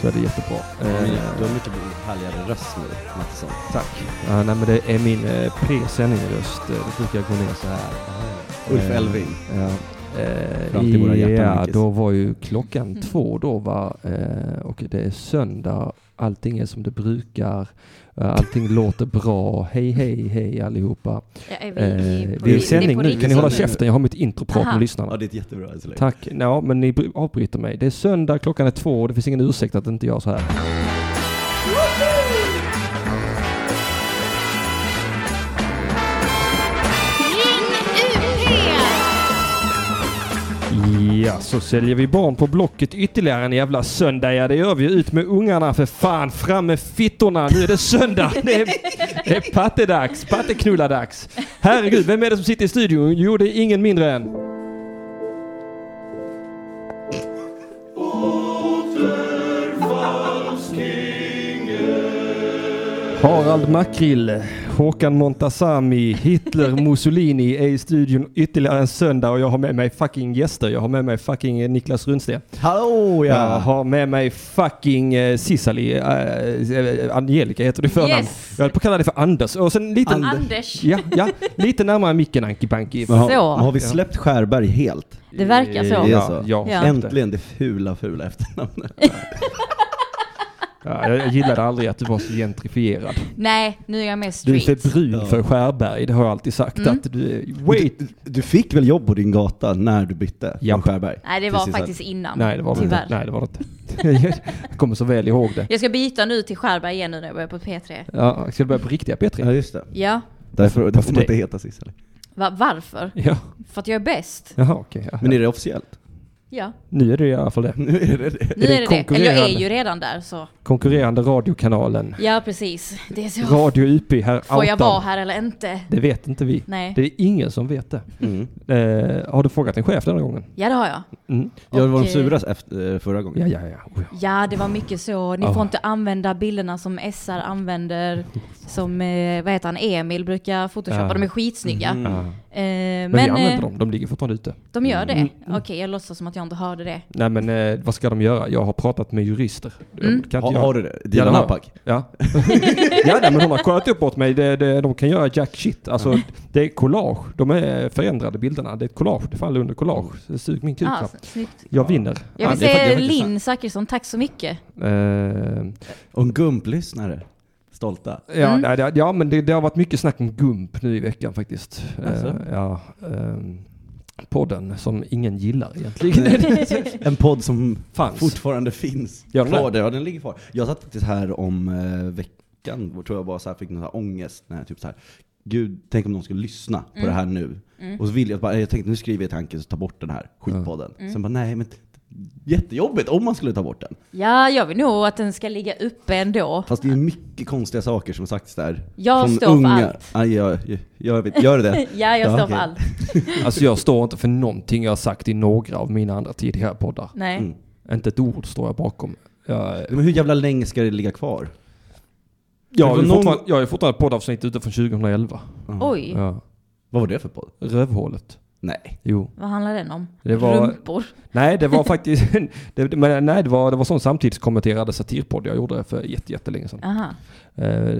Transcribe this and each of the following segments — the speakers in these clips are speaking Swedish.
Så är det jättebra. Du har Eh, mycket- du har mycket härligare röst nu, Mattisson. Tack. Ja, nej, men det är min eh, pre-sändingröst. Eh, Det brukar gå ner så här. Ulf Eh, Elving. Ja. Fram till våra hjärtan, Eh, ja, Marcus. då var ju klockan Mm. två då va? Eh, och det är söndag. Allting är som det brukar. Eh, Allting låter bra. Hej, hej, hej allihopa. Ja, är vi, Eh, vi, vi är i på sändning nu. riktigt. Kan ni hålla Vi är i sändning käften? Jag har mitt introprat Aha. med lyssnarna. Ja, det är ett jättebra än så länge. Tack. Ja, men ni bry- avbryter mig. Det är söndag, klockan är två och det finns ingen ursäkt att inte göra så här. Ja, så säljer vi barn på Blocket ytterligare en jävla söndag. Ja, det gör vi. Ut med ungarna för fan. Fram med fittorna. Nu är det söndag. Det är, det är pattedags. Patteknulladags. Herregud, vem är det som sitter i studion? Jo, det är ingen mindre än... Harald Makrill, Håkan Montazami, Hitler, Mussolini är i studion ytterligare en söndag och jag har med mig fucking gäster. Jag har med mig fucking eh, Niklas Runsten. Hallå Jag har med mig fucking eh, Sisali, eh, eh, Angelica heter du i förnamn. Yes. Jag höll på att kalla dig för Anders. Och sen lite, An- Anders. ja, ja, lite närmare micken Anki Banki. Men har, Så. men har vi släppt Skärberg helt? Det verkar så. Det är så. Ja, Ja. Äntligen det fula, fula efternamnet. Ja, jag gillade aldrig att du var så gentrifierad. Nej, nu är jag mer Du är street. för brun Ja. för Skärberg, det har jag alltid sagt. Mm. Att du är, wait! Du, du fick väl jobb på din gata när du bytte Japp. från Skärberg? Nej, det till var Sisal? faktiskt innan. Nej, det var det inte. Tyvärr. Nej, det var det inte. jag kommer så väl ihåg det. Jag ska byta nu till Skärberg igen nu när jag börjar på P3. Ja, ska du börja på riktiga Ja, P3? just det. Ja, Därför, därför får man det- inte heta Sissela. Va varför? Ja. För att jag är bäst. Jaha, okej. ja. Men är det officiellt? Ja, Nu är det i alla fall det. Nu är det det. nu det är det det. Eller jag konkurrerande? är ju redan där så. Konkurrerande radiokanalen. Ja, precis. Det är så. Radio UP här Får jag outar. vara här eller inte? Det vet inte vi. Nej. Det är ingen som vet det. Mm. Eh, har du frågat en chef den här gången? Ja, det har jag. Mm. Jag var de Och, eh, suras efter, eh, förra gången. Ja, ja, ja. Oh, ja. Ja, det var mycket så. Ni Ja. får inte använda bilderna som SR använder, som eh, vad heter han, Emil brukar photoshoppa. Ja. De är skitsnygga. Mm. Ah. Eh, men Men, vi använder eh, dem. De ligger fortfarande ute. de gör det? Mm, Okej, jag låtsas som att jag inte hörde det. Nej, men eh, vad ska de göra? Jag har pratat med jurister. Jag Mm. Kan inte Har, göra- har du det? Dina det har jag. nappar? Ja. ja, nej, men hon har kollat upp åt mig. Det, det, de kan göra jack shit. Alltså, det är collage. De är förändrade bilderna. Det är ett collage. Det faller under collage. Så Mm. Sug min kuk. Ah, va? snyggt. jag vinner. Jag vill Typ det är fa- det är säga faktiskt Linn Zachrisson, tack så mycket. Eh, Och en gumplyssnare. Stolta. ja, Mm. nej, det, ja, men det, det har varit mycket snack om Gump nu i veckan faktiskt. Eh, Alltså? ja, ehm, podden som ingen gillar egentligen. en podd som Fanns. fortfarande finns. Alltså. Gör den kvar där. Ja, den ligger kvar. Jag satt faktiskt här om eh, veckan, tror jag bara så här, fick någon så här ångest. När jag typ så här, Gud, tänk om någon skulle lyssna på Mm. det här nu. Och så ville jag bara, jag tänkte nu skriver jag tanken så ta bort den här skitpodden. Mm. Sen bara, nej men t- jättejobbigt om man skulle ta bort den. Ja, jag vill nog att den ska ligga uppe ändå. Fast det är mycket konstiga saker som sagts där. Jag Från står för allt. Ja, jag, jag, jag vet, gör du det? Mm. Ja, jag står för okej. allt. alltså jag står inte för någonting jag har sagt i några av mina andra tidigare poddar. Nej. Mm. Inte ett ord står jag bakom. Jag, Men hur jävla länge ska det ligga kvar? jag, Det har var ju någon- fortfarande, jag har ju fortfarande ett poddavsnitt ute från 2011. Oj, Ja. Vad var det för podd? Rövhålet. Nej. Jo. vad handlar den om? Det var- Rumpor? Nej, det var faktiskt... det, men, nej, det var, det var sån samtidskommenterade satirpodd jag gjorde för jätte, jättelänge sedan. Aha. Eh,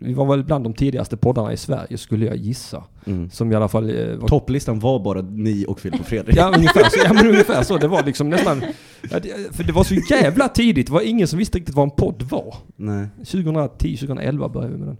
vi var väl bland de tidigaste poddarna i Sverige, skulle jag gissa. Mm. Som i alla fall eh, var... Topplistan var bara ni och Filip och Fredrik. Ja, ungefär så. Ja, men ungefär så. Det var liksom nästan... ja, det- För det var så jävla tidigt. Det var ingen som visste riktigt vad en podd var. Nej. 2010, 2011 började vi med den.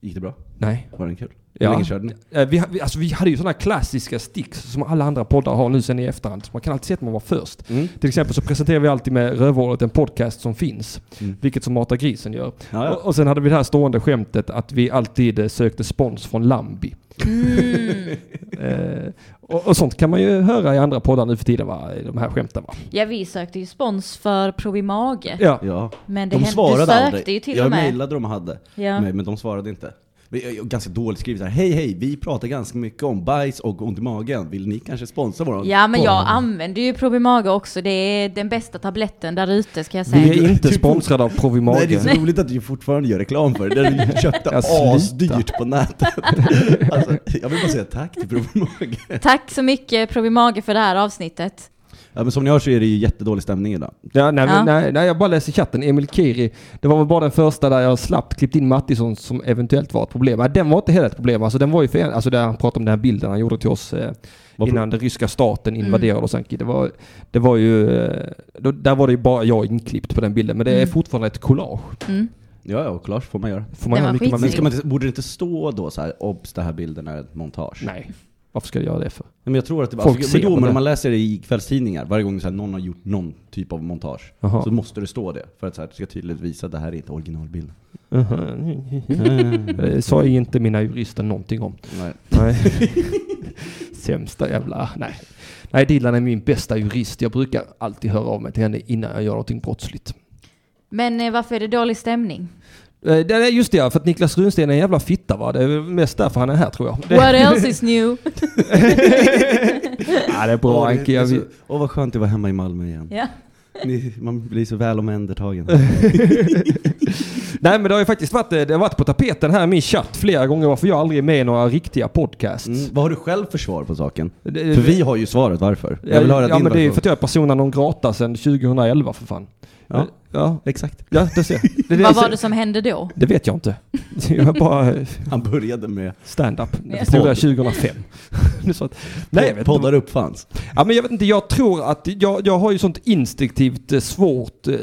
Gick det bra? Nej. Var den kul? Hur Ja. länge körde ni? Eh, Vi, vi, alltså, vi hade ju sådana klassiska sticks som alla andra poddar har nu sen i efterhand. Så man kan alltid se att man var först. Mm. Till exempel så presenterar vi alltid med Rövhålet en podcast som finns. Mm. Vilket som Mata Grisen gör. Ja, ja. Och, och sen hade vi det här stående skämtet att vi alltid eh, sökte spons från Lambi. Mm. eh, och, och sånt kan man ju höra i andra poddar nu för tiden va? I De här skämten va? Ja, vi sökte ju spons för Provimage. Ja. Ja. Men det De hände, du svarade sökte aldrig. ju till jag och med. mejlade de hade, Ja. men, men de svarade inte. Men jag- jag- Ganska dåligt skrivet så här. hej hej, vi pratar ganska mycket om bajs och ont i magen. Vill ni kanske sponsra våran? Ja men Bara. jag använder ju Probimaga också, det är den bästa tabletten där ute ska jag Vi säga. är inte Du- sponsrade av Typ- Nej, det är Provimage. så roligt att du fortfarande gör reklam för det. När du köpte Ja, sluta. asdyrt på nätet. Alltså, jag vill bara säga tack till Bror Mage. Tack så mycket Probimaga för det här avsnittet. Ja, men som ni hör så är det ju jättedålig stämning idag. Ja, nej, men- Ja. Nej, nej, jag bara läser i chatten. Emil Kiri. Det var väl bara den första där jag slappt klippt in Mattisson som eventuellt var ett problem. Nej, den var inte heller ett problem. Alltså, den var ju för, alltså där han pratade om den här bilden han gjorde till oss eh, Vad innan den ryska staten Mm. invaderade Osanki. Det var, det var ju, eh, då, där var det ju bara jag inklippt på den bilden. Men det är fortfarande ett collage. Mm. Ja, ja, och klart får man göra. Får man Den göra var mycket man Men vill. ska man inte, borde det inte stå då så här, obs, den här bilden är ett montage? Nej, varför ska jag göra det för? Men jag tror att det var, Folk alltså, ser men på jo, men det. om man läser det i kvällstidningar, varje gång så här, någon har gjort någon typ av montage, Jaha. så måste det stå det. För att så här, det ska tydligt visa att det här är inte originalbilden. Det Eh, sa ju inte mina jurister någonting om. Nej. Nej. Sämsta jävla... ah, Nej. Nej, Dilan är min bästa jurist. Jag brukar alltid höra av mig till henne innan jag gör någonting brottsligt. Men eh, varför är det dålig stämning? Eh, det är Just det, ja, för att Niklas Runsten är en jävla fitta va? Det är väl mest därför han är här tror jag. Det, What else is new? ja, det är bra Åh, det- Anki. det är Jag, så- vill- Åh vad skönt det var hemma i Malmö igen. ja. Ni, man blir så väl omhändertagen. Mm. nej men det har ju faktiskt varit, eh, det har varit på tapeten här i min chatt flera gånger varför jag aldrig är med i några riktiga podcasts. Mm, vad har du själv för svar på saken? Det- För vi har ju svaret varför. Ja, Jag vill höra ja din men det är ju för version. att jag är persona non grata sedan 2011 för fan. Ja. ja, Exakt. ja det ser jag. Det, Vad var det som hände då? det vet jag inte. Jag bara eh, Han började med stand-up. Ja. Det förstod jag 2005. Nu så att- Nej, jag vet inte. poddar uppfanns. Ja, men jag vet inte, jag tror att jag, jag har ju sånt instinktivt eh, svårt eh,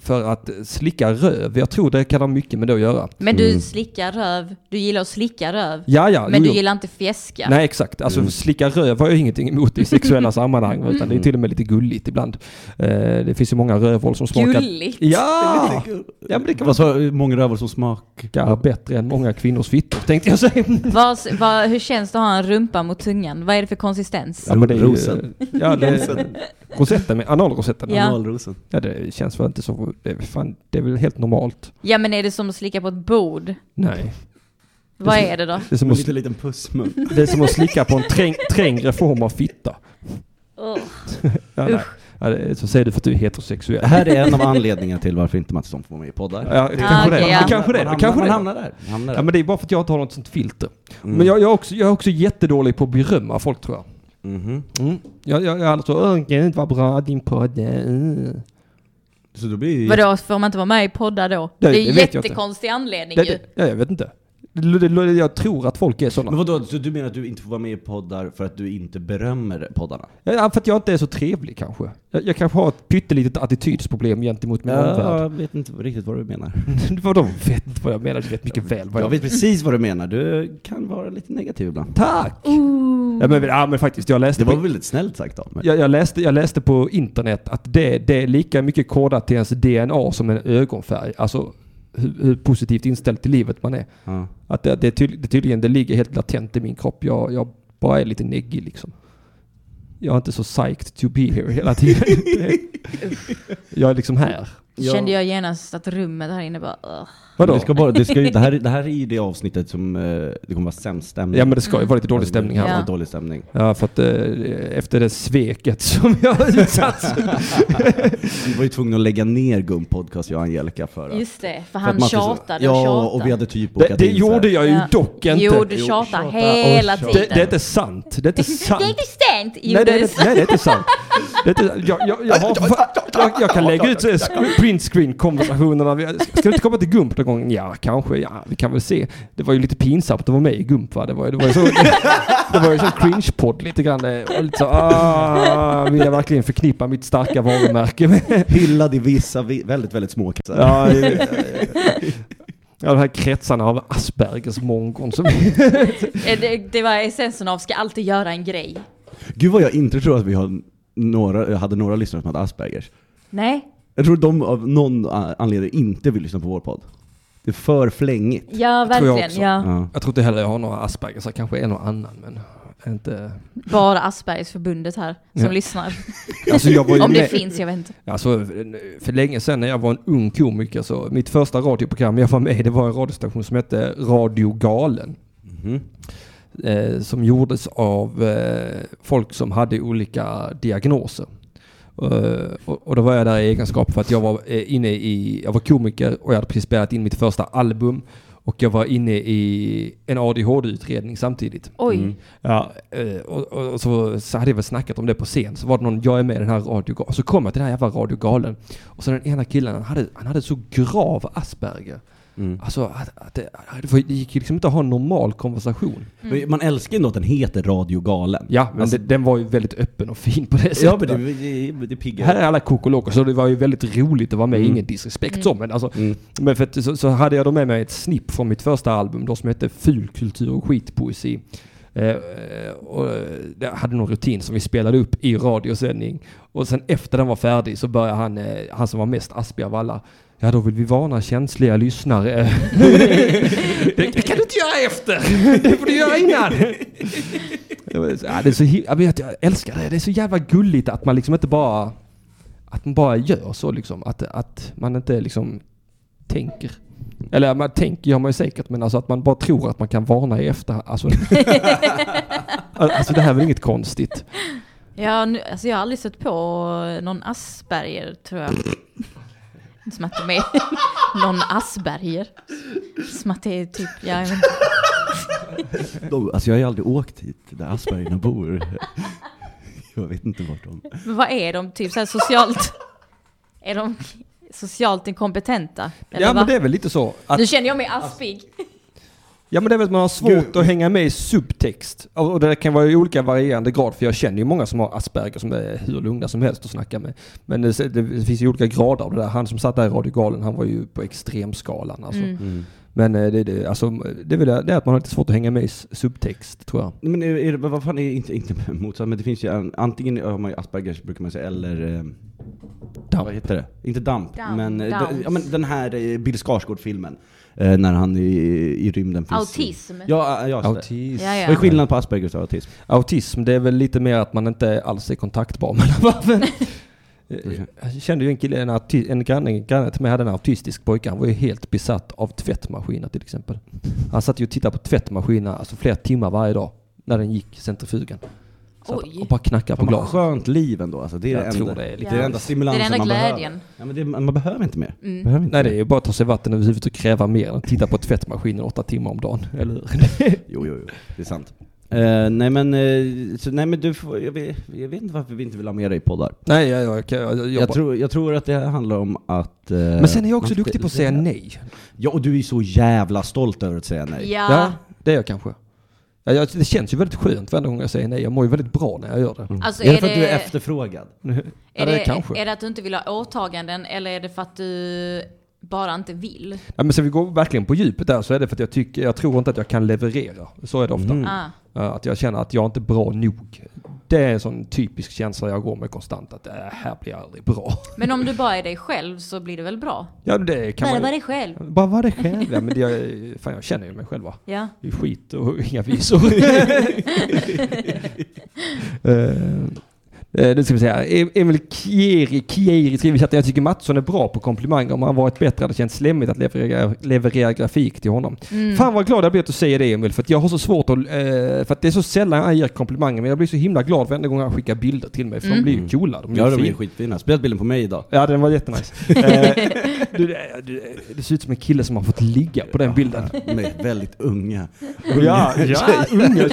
för att eh, slicka röv. Jag tror det kan ha mycket med det att göra. Men du slickar röv, du gillar att slicka röv. Ja, Mm. ja. Men jo, du jo. gillar inte fjäska. Nej, exakt. Alltså slicka röv har jag ingenting emot i sexuella sammanhang. Utan det är till och med lite gulligt ibland. Eh, det finns ju många rövhål som smakar... Gulligt. Ja! Ah! ja men det kan Vad sa du? många rövhål som smak? vara bättre än många kvinnors fittor, tänkte jag säga. Vad, vad, hur känns det att ha en rumpa mot tungan? Vad är det för konsistens? Ja, men det är ju- Rosen. Ja, det, Rosen. rosetten, med- analrosetten. Ja. Analrosen. Ja, det känns väl inte så... Det är, väl fan, det är väl helt normalt? Ja men är det som att slicka på ett bord? Nej. Vad är det då? Det är som En att, liten, liten pussmun. det är som att slicka på en träng, trängre form av fitta. Ugh. Ja, nej. Ja, det, så säger du för att du är heterosexuell. Det här är en av anledningarna till varför inte Mattisson får vara med i poddar. Ja, är- kanske okej, det. ja. Kanske det. Man hamnar, Kanske man det. hamnar där. Man hamnar där. Ja, men det är bara för att jag inte har något sånt filter. Mm. Men jag, jag, är också, jag är också jättedålig på att berömma folk tror jag. Mhm. Mm. Jag, jag, jag är alltså, åh gud vad bra din podd är. Mm. Så då blir det ju... Vadå, får man inte vara med i poddar då? Det, Det- är det en vet jag jättekonstig anledning Det, ju. det, ja, jag vet inte. Det, det, det, jag tror att folk är Men sådana. vadå, så du menar att du inte får vara med i poddar för att du inte berömmer poddarna? Ja, för att jag inte är så trevlig kanske. Jag, jag kanske har ett pyttelitet attitydsproblem gentemot min omvärld. jag vet inte riktigt vad du menar. Vadå vet inte vad jag menar? Du vet mycket väl vad Jag jag vet precis vad du menar, du kan vara lite negativ ibland. Tack! Ja, men, ja men faktiskt, jag läste Det var på, väldigt snällt sagt av mig. jag, jag läste, jag läste på internet att det, det är lika mycket kodat till ens DNA som en ögonfärg. Alltså hur, hur positivt inställd till livet man är. Ja. Att det, det, är tydl, det tydligen det ligger helt latent i min kropp. Jag, jag bara är lite neggig liksom. Jag är inte så psyched to be here hela tiden. jag är liksom här. Ja. Kände jag genast att rummet här inne bara... ugh. Vadå? Det, ska bara, det, ska ju, det, här, det här är ju det avsnittet som eh, det kommer vara sämst stämning. Ja men det ska ju vara lite dålig stämning här. Ja. va? Ja. Dålig stämning. Ja för att eh, efter det sveket som jag utsatts Vi var ju tvungna att lägga ner Gum Podcast, jag och Angelica, för att... Just det, för för att han Mattis- tjatade och Ja, tjatade. och vi hade typ bokat Det, det in så här. gjorde jag ju Ja. dock inte. Jo, du Jo, tjatar tjata hela och tjata. det, tiden. det är inte sant. Det är inte sant. Det är inte sant, Nej det, är, Jonas. inte- nej, det är inte sant. Det är inte, jag, jag, jag, har, jag, jag kan lägga ut så här sk- print screen konversationerna. Vi- Ska du inte komma till Gump någon gång? Ja, kanske. Ja, vi kan väl se. Det var ju lite pinsamt att vara med i Gump va? Det var, ju- det var ju så, det var ju så cringe-podd lite grann. Det var lite så, ah, vill jag verkligen förknippa mitt starka varumärke med? Hyllad i vissa vi- väldigt, väldigt små kretsar. Ja, det- ja, de här kretsarna av Aspergers mongon som Eh, Det, det var essensen av ska alltid göra en grej. Gud vad jag inte tror att vi har några, hade några lyssnare som hade Aspergers. Nej, Jag tror de av någon a- anledning inte vill lyssna på vår podd. Det är för flängigt. ja tror jag verkligen. också. Ja. Ja. Jag tror inte heller jag har några Aspergers, jag kanske en och annan men inte... Bara Aspergersförbundet här som Ja. lyssnar. Alltså jag var ju Om det med- finns, jag vet inte. Alltså för länge sedan när jag var en ung komiker så mitt första radioprogram jag var med i det var en radiostation som hette Radio Galen. Mhm. Eh, som gjordes av eh, folk som hade olika diagnoser. Eh, och, och då var jag där i egenskap för att jag var eh, inne i, jag var komiker och jag hade precis spelat in mitt första album. Och jag var inne i en ADHD-utredning samtidigt. Oj. Mm. Ja, eh, och, och, och så, så hade jag väl snackat om det på scen. Så var det någon, jag är med i den här radiogalen. Så kom jag till den här jävla radiogalen. Och så den ena killen, han hade, han hade så grav Asperger. Mm. Alltså, att, att det, att det var- det gick ju liksom inte att ha en normal konversation. Mm. Men Man älskar ju ändå att den heter Radiogalen. Ja, men Alltså- det, den var ju väldigt öppen och fin på det sättet. ja men det, det, det piggar Här är alla kokolokor, så det var ju väldigt roligt att vara med. Mm. Ingen disrespekt så, men alltså. Mm. Men för att, så, så hade jag då med mig ett snipp från mitt första album då som hette Ful kultur och skitpoesi. Eh, och eh, jag hade någon rutin som vi spelade upp i radiosändning. Och sen efter den var färdig så började han, eh, han som var mest aspig av alla. Ja, då vill vi varna känsliga lyssnare. det, det kan du inte göra efter! Det får du göra innan! Jag vet- Ja, det är så, hi- jag, vet, jag älskar det. Det är så jävla gulligt att man liksom inte bara... Att man bara gör så liksom. Att, att man inte liksom tänker. Eller man tänker gör man ju säkert, men alltså att man bara tror att man kan varna i efterhand. Alltså, alltså det här är väl inget konstigt? Ja, nu, alltså jag har aldrig sett på någon Asperger tror jag. Som att de är någon Asperger. Som att det är typ, ja, jag vet inte. De, alltså jag har ju aldrig åkt hit där Aspergerna bor. Jag vet inte vart de... Men vad är de? Typ så här socialt... Är de socialt inkompetenta? Eller Ja vad? men det är väl lite så. Att, Nu känner jag mig aspig. ja men det är väl att man har svårt att hänga med i subtext. Och och det kan vara i olika varierande grad för jag känner ju många som har Asperger som är hur lugna som helst att snacka med. Men det, det finns ju olika grader av det där. Han som satt där i radiogalen han var ju på extremskalan alltså. Mm. Men eh, det, det, alltså, det, är väl det, det är att man har lite svårt att hänga med i s- subtext tror jag. Men är, är, det- vad fan är inte, inte motsatt, men det finns ju en, antingen har man ju Aspergers brukar man säga, eller eh, vad heter det? Inte damp, Damp, men, eh, Downs. den- ja, men den här eh, Bill Skarsgård-filmen. Eh, när han i, i rymden finns. Autism. Ja, ja, just det. Autism. Ja, ja. Vad är skillnaden på Aspergers och autism? Autism, det är väl lite mer att man inte alls är kontaktbar med varandra. Mm. Jag kände ju en kille, en, auti- en granne, en granne till mig hade en autistisk pojke. Han var ju helt besatt av tvättmaskiner till exempel. Han satt ju och tittade på tvättmaskiner alltså flera timmar varje dag när den gick centrifugen. Satt Oj. och bara knackade på Fan, vad glaset. skönt liv ändå alltså. Det är Jag det enda, tror det är lite- det är Ja. den enda stimulansen Det är den enda man glädjen. behöver. Ja, men det, man behöver inte mer. Mm. Behöver inte Nej mer. det är ju bara att ta sig vatten över huvudet och kräva mer än att titta på tvättmaskinen åtta timmar om dagen. Eller hur? Jo, jo, jo. Det är sant. Eh, nej, men, eh, så, nej men du får, jag, vet, jag vet inte varför vi inte vill ha med dig i poddar. Nej, jag, jag, jag, jag, jag, Jag tror, jag tror att det handlar om att... eh, Men sen är jag man också ska- duktig på att säga nej. Ja, och du är så jävla stolt över att säga nej. Ja. Ja, det är jag kanske. Ja, jag, det känns ju väldigt skönt varje gång jag säger nej. Jag mår ju väldigt bra när jag gör det. Alltså, är, det är, för att du är det, efterfrågad? Ja, är, det det, kanske. är det att du inte vill ha åtaganden eller är det för att du bara inte vill? Ja, men sen vi går verkligen på djupet där så är det för att jag, tycker, jag tror inte att jag kan leverera. Så är det ofta. Ah. Ja, Att jag känner att jag inte är bra nog. Det är en sån typisk känsla jag går med konstant. Att äh, här blir jag aldrig bra. Men om du bara är dig själv så blir det väl bra? Ja, det kan Bara man vara ju. dig själv. Bara vara dig själv. Ja, men det, jag, fan, jag känner ju mig själv va? Ja. Det är skit och inga visor. Eh, eh, Nu ska vi säga, E- Emil Kieri, Kieri skriver i chatten, jag tycker Mattsson är bra på komplimanger. Om han varit bättre hade det känts slemmigt att leverera, leverera grafik till honom. Mm. Fan vad glad jag blir att du säger det Emil, för att jag har så svårt att, eh, för att det är så sällan han ger komplimanger, men jag blir så himla glad varenda gång han skickar bilder till mig, för de blir ju coola. De är ju Ja, de är ju fina. skitfina. Spelat bilden på mig idag. Ja, den var jättenice. Eh, du, du, eh, det ser ut som en kille som har fått ligga på den bilden. Med väldigt unga. Ja, ja unga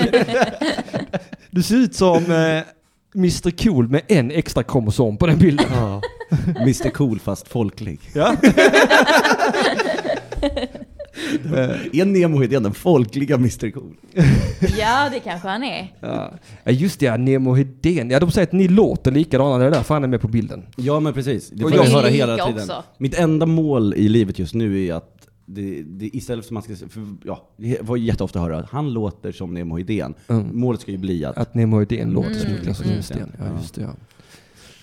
Du ser ut som eh, Mr Cool med en extra kromosom på den bilden. Mr Cool fast folklig. Ja. Är Nemo-idén den folkliga Mr Cool? ja, det kanske han är. ja. Just det, ja, Nemo Hedén. Ja, de säger att ni låter likadana. Det är därför han är med på bilden. Ja men precis, det Och får jag- jag höra Lika hela tiden. också. Mitt enda mål i livet just nu är att det, det, istället för att man ska, för, ja, det var jätteofta att höra att han låter som Nemo Idén. Mm. Målet ska ju bli att, Att Nemo Hedén låter som Mm, Niklas mm. Rydsten. Ja, just det, ja.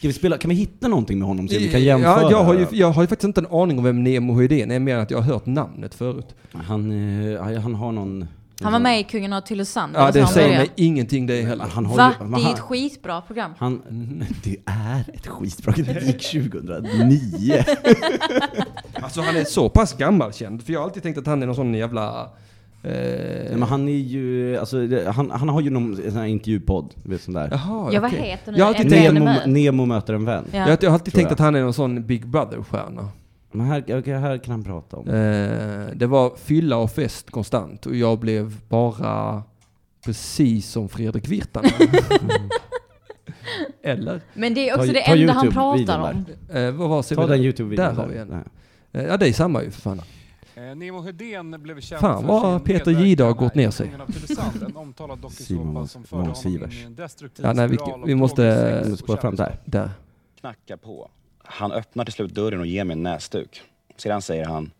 kan vi, spela, kan vi hitta någonting med honom så vi kan jämföra? Ja, jag, har ju, jag har ju faktiskt inte en aning om vem Nemo Hedén är, mer än att jag har hört namnet förut. han, eh, ja, han har någon... Han Mm. var med i Kungen av Tylösand. Ja, det eller så Alltså, han säger började. mig ingenting det heller. Han har Va? ju- Det är han- ett skitbra program. Han, det är ett skitbra Det gick 2009. Alltså han är så pass gammalkänd, för jag har alltid tänkt att han är någon sån jävla... Eh, Men han är ju, alltså, det- han, han har ju någon sån här intervjupodd, du vet sån där. Jaha, Ja, vad okej. heter den? Jag har alltid En tänkt vän Nemo, med. Nemo möter en vän. Ja. Jag, jag har alltid Tror tänkt jag. att han är någon sån Big Brother-stjärna. Men här, okej, här kan han prata om. Eh, det var fylla och fest konstant och jag blev bara precis som Fredrik Virtanen. Mm. Eller? Men det är också Ta- det ta enda han YouTube-videon pratar där. om. Eh, vad var ser Ta vi den där? Youtube-videon. Där har vi en. Nej. Eh, Ja, det är samma ju för fan. Eh, Nemo Hedén blev känd Fan, för vad sin Peter Jihde medverkan har gått i ner sig. Kungen av Tylösand, En omtalad dokusåpa Simon som förde honom in Månsivers. i en destruktiv Ja, nej, vi- spiral av vi måste- droger, sex Om du och spolar fram där. Där. knackar på. Han öppnar till slut dörren och ger mig en näsduk. Sedan säger han,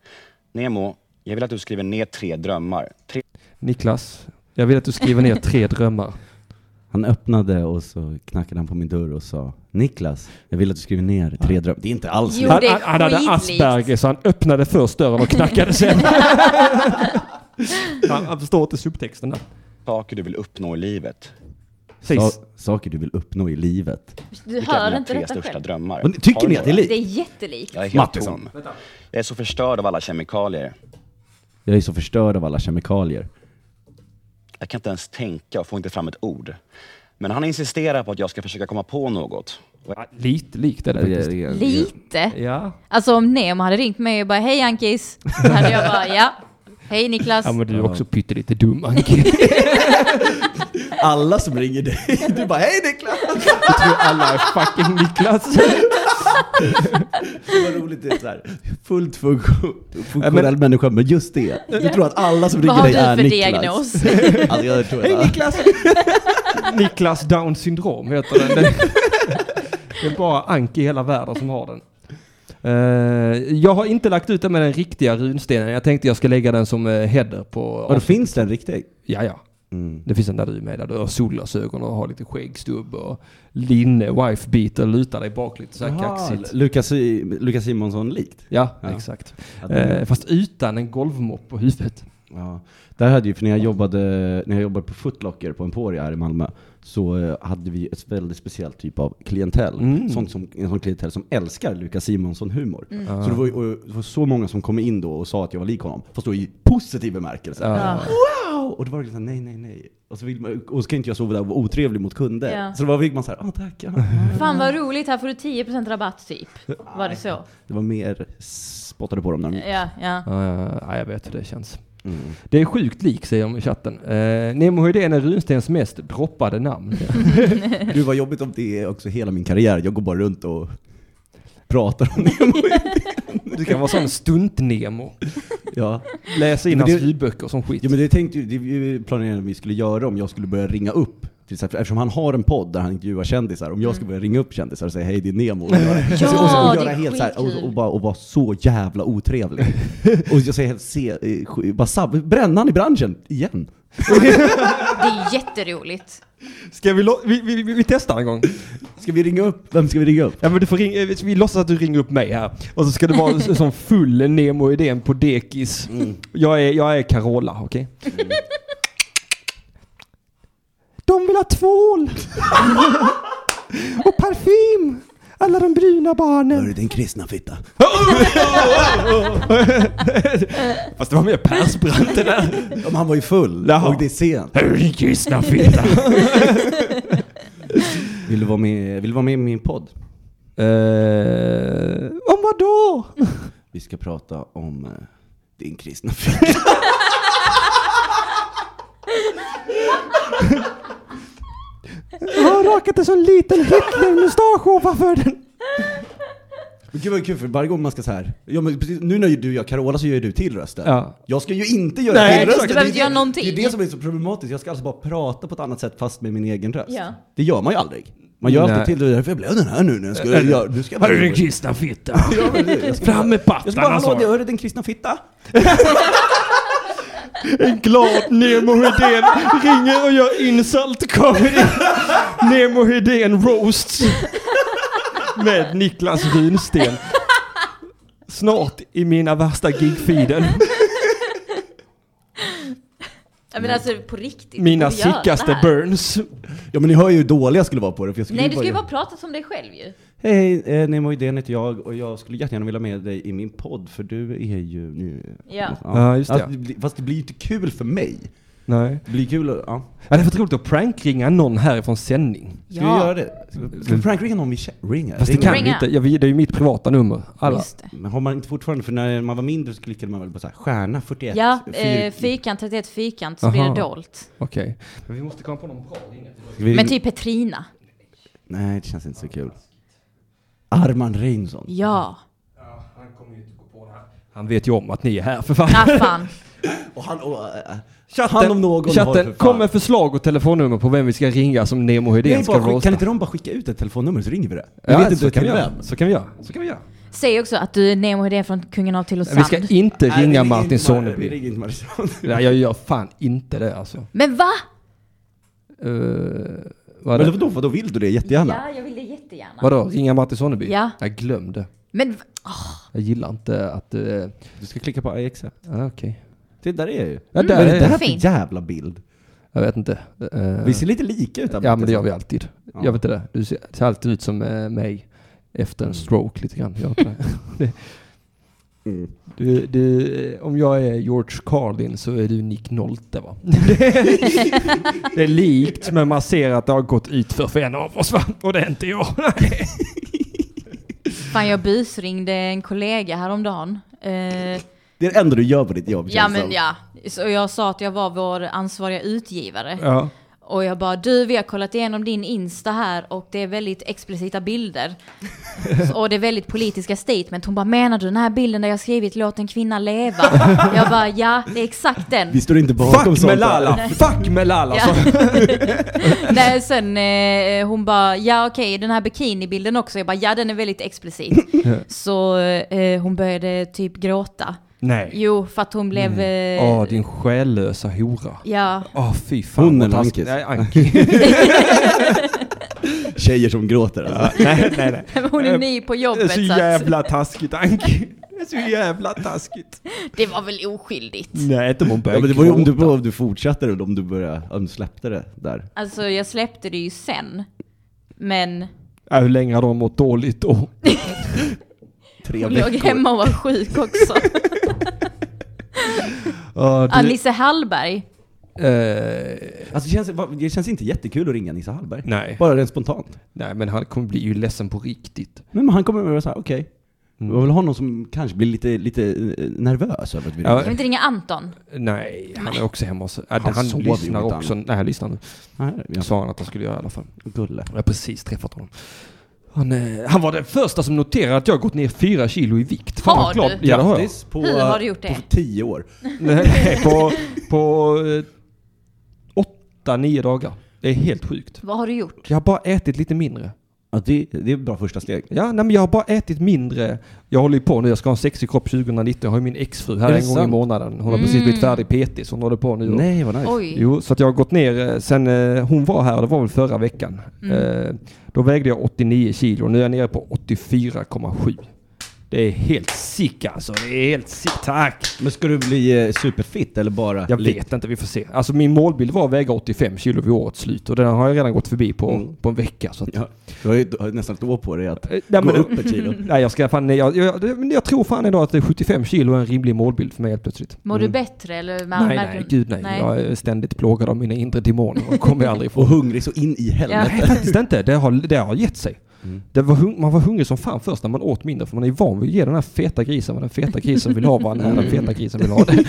Nemo, jag vill att du skriver ner tre drömmar. Tre Niklas, jag vill att du skriver ner tre drömmar. Han öppnade och så knackade han på min dörr och sa Niklas, jag vill att du skriver ner tre drömmar. Det är inte alls Jo, likt. Han, det är han, han hade skitlikt. Asperger så han öppnade först dörren och knackade sen. han, han förstår inte subtexten där. saker du vill uppnå i livet. Säg, Sa- saker du vill uppnå i livet. Du Vilka är hör dina inte tre detta största själv. drömmar? Och ni- Har tycker du ni att det är några? likt? Det är jättelikt. Jag är helt Matto. liksom. Jag är så förstörd av alla kemikalier. Jag är så förstörd av alla kemikalier. Jag kan inte ens tänka och får inte fram ett ord. Men han insisterar på att jag ska försöka komma på något. Och Ja, lite likt är det faktiskt. Lite. Ja. Alltså om Nemo hade ringt mig och bara hej Ankis. Då hade jag bara ja. Hej Niklas. ja, men du är också pyttelite dum Anki. Alla som ringer dig, du bara hej Niklas! Jag tror alla är fucking Niklas. Vad roligt det är såhär, fullt funktion- funktionell människa, men just det. Du tror att alla som Vad ringer har dig du är för Niklas. diagnos? Alltså jag tror att Niklas! Niklas Down syndrom heter den. den. Det är bara Anki i hela världen som har den. Eh, jag har inte lagt ut den med den riktiga runstenen. Jag tänkte jag ska lägga den som eh, header på... Och då finns det en riktig. Ja, ja. Mm. Det finns en där du är med, där du har solglasögon och har lite skäggstubb och linne, wifebeater, lutar dig bak lite så här kaxigt. Lukas, Lukas Simonsson likt. Ja, Ja. exakt. Ja, det- Eh, fast utan en golvmopp på huvudet. Ja, där hade ju, för när jag jobbade, när jag jobbade på Footlocker på Emporia här i Malmö, så eh, hade vi ett väldigt speciellt typ av klientell. Mm. Sånt som, en sån klientell som älskar Lukas Simonsson-humor. Så det var, ju- och, det var så många som kom in då och sa att jag var lik honom, fast då i positiv bemärkelse. Ja. Wow! Och då var det liksom nej, nej, nej. Och så, vill man, och så kan inte jag sova där och vara otrevlig mot kunder. Ja. Så då var- fick man såhär, ah tack. Ja. Fan vad roligt, här får du 10% rabatt typ. Var det så? Det var mer spottade på dem när de gick. Ja, ja. Ja, ja, ja, jag vet hur det känns. Mm. Det är sjukt lik, säger de i chatten. Eh, Nemo Hedén är Runstens mest droppade namn. Du var jobbigt om det är också hela min karriär. Jag går bara runt och pratar om det. Du kan vara sån stunt-Nemo. Ja. Läsa in Men hans det- ljudböcker som skit. Ja men det tänkte ju, det är ju planerade vi skulle göra om jag skulle börja ringa upp. Till exempel, eftersom han har en podd där han intervjuar kändisar, om jag skulle börja ringa upp kändisar och säga hej det är Nemo. Och göra, och, så- och, så- Mm. Ja, och göra det är helt så här, och, skitkul. och, bara, och vara så jävla otrevlig. och jag säger helt se, eh, sk- bara sab- bränna han i branschen igen. Det är jätteroligt. Ska vi, lo- vi, vi, vi, vi testar en gång? Ska vi ringa upp? Vem ska vi ringa upp? Ja, men du får ring- eh, vi låtsas att du ringer upp mig här. Och så ska det vara en sån full Nemo Hedén på dekis. Jag, är, jag är Carola, okej? De vill ha tvål! Och parfym! Alla de bruna barnen. Hörru din kristna fitta. Fast det var mer Persbrandt det där. Ja, men han var ju full Jaha. och det är sent. Hur din kristna fitta. Vill du vara med, vill du vara med i min podd? Eh, om vad då? Vi ska prata om eh, din kristna fitta. Jag har rakat en sån liten Hitler-mustasch ovanför den. Men Gud vad kul för varje gång man ska så här. Ja, men precis, nu när du gör Carola så gör du till rösten. Ja. Jag ska ju inte göra Nej, till exakt. rösten. Du behöver Det är inte göra det- någonting. Det är det som är så problematiskt. Jag ska alltså bara prata på ett annat sätt fast med min egen röst. Ja. Det gör man ju aldrig. Man gör Nej. alltid till det. Det är därför jag blev den här nu. När jag skulle, jag, nu ska jag Hörru bara... din kristna fitta. Ja, men nu, jag ska Fram med Jag ska bara, pattarna hallå, sa det jag. hör du din kristna fitta? En glad Nemo Hedén ringer och gör insult comedy. Nemo Hedén roasts. Med Niklas Runsten. Snart i mina värsta gigfeeden. Ja, Men alltså på riktigt. Mina du gör det sickaste här. burns. Ja men ni hör ju hur dålig jag skulle vara på det. För jag skulle Nej ju du ska ju göra- bara prata som dig själv ju. Hej, hej, eh, Nemo Idén heter jag och jag skulle jättegärna vilja med dig i min podd för du är ju... nu- Ja. Ja, just det. Alltså, blir- Fast det blir ju inte kul för mig. Nej. Det blir kul att, ja. Ja, det är för roligt att prankringa någon härifrån sändning. Ska vi göra det? Ska vi prankringa någon vi känner? Ringa? Fast det Ringa. kan vi Ringa. inte. Ja, vi, det är ju mitt privata nummer. Alla. Just det. Men har man inte fortfarande, för när man var mindre så klickade man väl på så här, stjärna 41? Ja, fyr- eh, fikant, 31 fikant, så Aha. blir det dolt. Okej. Men vi måste komma på någon bra ringa. Ska vi- Men typ Petrina. Nej, det känns inte så kul. Arman Reinsson. Ja. Han kommer ju inte gå på det här. Han vet ju om att ni är här för fan. Ah, fan. Och han, och, äh, han om någon har för Chatten, fan- kom med förslag och telefonnummer på vem vi ska ringa som Nemo Nej, Hedén ska bara skick- roasta. Kan inte de bara skicka ut ett telefonnummer så ringer vi det? Vi Ja, vet inte så, kan vi till göra. vem. så kan vi göra. Så kan vi göra. Säg också att du är Nemo Hedén från Kungen av Tylösand. Vi ska inte Nej, vi ringa ringer Martin inte Mar- Vi Sonneby. ringer inte Martin Sonneby. Nej, jag gör fan inte det alltså. Men va? Uh, vad Men är det? då, vadå, vadå, vill du det jättegärna? Ja, jag vill det jättegärna. Vadå, ringa Martin Sonneby? Ja. Jag glömde. Men v- Jag gillar inte att... Uh, Du ska klicka på I accept. ah, okej. Det där är jag ju. Ja, där Vad är är det jag. här för Fint. jävla bild? Jag vet inte. Eh, Vi ser lite lika ut. här ja, borta. men det gör vi alltid. Jag vet inte det. Du ser, ser alltid ut som eh, mig efter en stroke lite grann. Gör inte det? det. Mm. Du, du, eh, om jag är George Carlin så är du Nick Nolte va? det är likt men man ser att det har gått ut för, för en av oss va? Och det är inte jag. fan, jag busringde en kollega häromdagen. Eh, Det är det enda du gör på ditt jobb ja, känns men som. ja. Så jag sa att jag var vår ansvariga utgivare. ja. Och jag bara, du vi har kollat igenom din Insta här och det är väldigt explicita bilder. Så- och det är väldigt politiska statement. Hon bara, menar du den här bilden där jag skrivit låt en kvinna leva? jag bara, ja det är exakt den. Vi står inte bakom Fuck sånt. Melala! Fuck Melala! Ja. Nej, sen eh, hon bara, ja okej den här bikinibilden också. Jag bara, ja den är väldigt explicit. Så eh, hon började typ gråta. Nej. Jo, för att hon blev... Eh, Mm. Åh, din själlösa hora. Ja, Åh, fy fan. Hon vad eller taskigt. Ankis? Nej, Ankis. Tjejer som gråter alltså. nej, nej, nej. hon är ny på jobbet så, att, taskigt, Anki. Det är så jävla taskigt. det var väl oskyldigt. Nej, inte om hon Ja, börjar men det var ju om gråta. du, om du fortsatte det, om du började, om du släppte det där. Alltså jag släppte det ju sen. Men Ja, hur länge har de mått dåligt då? Tre hon låg veckor. hemma och var sjuk också. Ja, det- Alice Hallberg. Eh, Alltså, det, känns, det känns inte jättekul att ringa Nisse Hallberg. nej. Bara rent spontant. nej, men han kommer bli ju ledsen på riktigt. Men han kommer med och säger okej. Mm. Jag vill ha någon som kanske blir lite, lite eh, nervös över att vi Ja. Kan vi ringer. inte ringa Anton? Nej, han är också hemma hos... Han, Han han sover ju lyssnar inte också. Nej, han lyssnar nu. Ja. Här, ja. Sa han att han skulle göra i alla fall. Gulle. Jag har precis träffat honom. Han, eh, han var den första som noterade att jag har gått ner fyra kilo i vikt. Fan, Har vad glad- du? Ja, det har jag. Grattis på, Hur har du gjort det? på tio år. Nej, på, på eh, åtta, nio dagar. Det är helt sjukt. Vad har du gjort? Jag har bara ätit lite mindre. Ja, det, det är ett bra första steg. Ja, nej, men jag har bara ätit mindre. Jag håller ju på nu, jag ska ha en sexig kropp 2019. Jag har ju min exfru här Är det en gång i sant? Mm. månaden. Hon har precis blivit färdig PT, så hon håller på nu. och- Nej, vad nice. Oj. Jo, så att jag har gått ner eh, sen eh, hon var här, det var väl förra veckan. Mm. Eh, då vägde jag 89 kilo, nu är jag nere på 84,7. Det är helt sick alltså, det är helt sick. Tack! Men ska du bli eh, superfit eller bara? Jag lite? vet inte, vi får se. Alltså min målbild var att väga 85 kilo vid årets slut och den har jag redan gått förbi på, Mm. på en vecka. Så att, Ja, du har ju du har ju nästan ett år på dig att Eh, nej, gå men- upp ett kilo. Nej, jag, ska fan, jag, jag, det- men jag tror fan ändå att det är 75 kilo är en rimlig målbild för mig helt plötsligt. Mår du bättre eller? Nej, nej, gud nej. Jag är ständigt plågad av mina inre demoner och kommer jag aldrig Och ifrån. hungrig så in i helvete. Nej, faktiskt inte. Det har, det har gett sig. Det var hung, man var hungrig som fan först när man åt mindre för man är ju van vid att ge den här feta grisen vad den feta grisen vill ha vad den här den feta grisen vill ha det.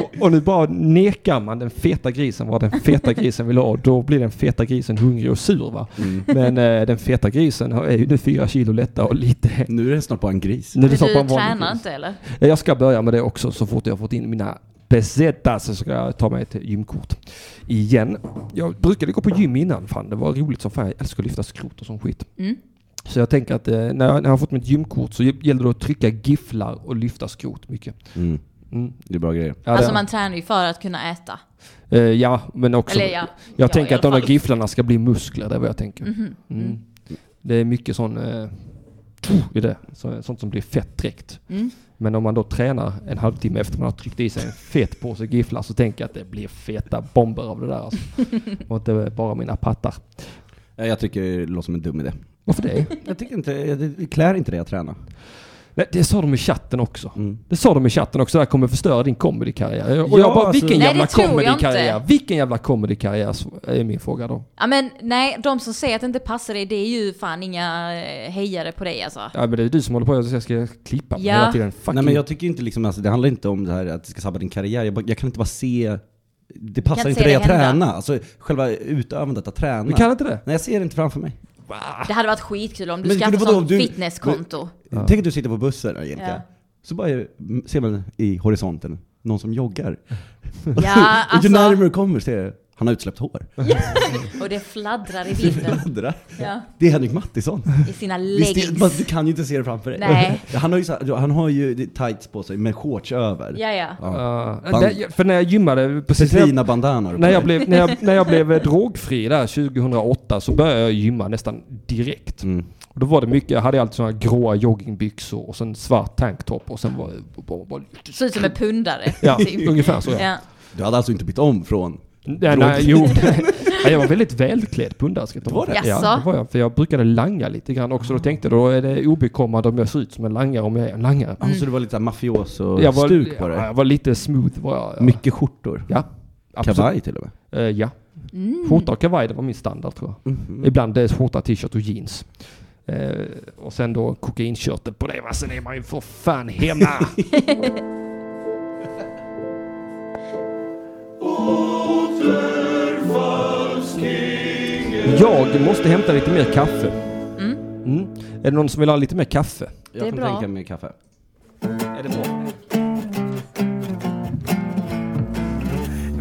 och, och nu bara nekar man den feta grisen vad den feta grisen vill ha och då blir den feta grisen hungrig och sur va. Mm. Men eh, den feta grisen har- är ju nu fyra kilo lättare och lite... Nu är det snart bara en gris. Nu är Men det snart bara en du vanlig tränar gris. inte eller? Ja, Jag ska börja med det också så fort jag har fått in mina besetta så ska jag ta mig ett gymkort. Igen. Jag brukade gå på gym innan. Fan, det var roligt som fan. Jag älskar att lyfta skrot och sån skit. Mm. Så jag tänker att eh, när jag, när jag har fått mitt gymkort så gäller det att trycka gifflar och lyfta skrot mycket. Mm. Mm. Det är bra grejer. Ja, det- Alltså man tränar ju för att kunna äta. eh, ja, men också. Eller ja. Jag ja, i tänker att de alla där fall. Mhm, gifflarna ska bli muskler, det är vad jag tänker. Mm. Det är mycket sån... Eh, i det. Så, sånt som blir fett direkt. Mm. Men om man då tränar en halvtimme efter man har tryckt i sig en fet påse gifflar så tänker jag att det blir feta bomber av det där alltså. Och inte bara mina pattar. Eh, Jag tycker det låter som en dum idé. Varför det? Jag tycker inte, jag- det klär inte det att träna. Nej, det sa de i chatten också. Mm. Det sa de i chatten också, det här kommer förstöra din comedykarriär. Och jag Ja, bara, alltså- vilken Nej, jävla det tror jag comedykarriär? inte. Vilken jävla comedykarriär? så är min fråga då. Ja men nej, de som säger att det inte passar dig, det är ju fan inga eh, hejare på dig alltså. Ja, men det är du som håller på, jag ska- jag ska klippa Ja. hela tiden. Fucking. Nej men jag tycker inte liksom, alltså, det handlar inte om det här att det ska sabba din karriär. Jag, bara, jag kan inte bara se, det passar inte inte se dig det att hända. träna. Alltså själva utövandet att träna. Du kan inte det? Nej jag ser det inte framför mig. Det hade varit skitkul om du Men skaffade vadå, sånt du- fitnesskonto. Tänk att du sitter på bussen Angelica. Ja. Så bara mm, ser man i horisonten någon som joggar. Ja, och ju alltså. närmare du kommer ser jag, han har utsläppt hår. Och det fladdrar i Det vinden. fladdrar. Ja, Det är Henrik Mattisson. I sina Visst, det, man, leggings. du kan ju inte se det framför dig. Nej. Han har ju, så här, han har ju tights på sig med shorts över. Ja, ja. Ja. Band- det, för när jag gymmade, precis när jag, Petrina bandanor. på när, jag dig. blev, när, jag, när jag blev eh, drogfri där 2008 så började jag gymma nästan direkt. Mm. Och då var det mycket, jag hade alltid sådana gråa joggingbyxor och sen svart tanktop och sen var bara, bara, Ser ut som en pundare. Ja, typ. ungefär så ja. Ja. Du hade alltså inte bytt om Mm. från... Nej, nej, jo. nej, jag var väldigt välklädd pundare ska jag Var Ah. det? det? Ja, Jaså? det var jag. För jag brukade langa lite grann också. Då tänkte jag, då är det obekommande om jag ser ut som en langare om jag är en langare. Mm. Så du var lite Jag var, mafioso-stuk på ja, det? jag var lite smooth var jag. Ja. Mycket skjortor? Ja, absolut. Kavaj till och med? Eh, ja. Skjorta och kavaj, det var min standard tror jag. Ibland det är skjorta, t-shirt och jeans. Eh, och sen då kokainkörtel på det va, sen är man ju för fan hemma. Jag måste hämta lite mer kaffe. Mm. Är det någon som vill ha lite mer kaffe? Jag Det är kan bra. tänka mig kaffe. Är det bra?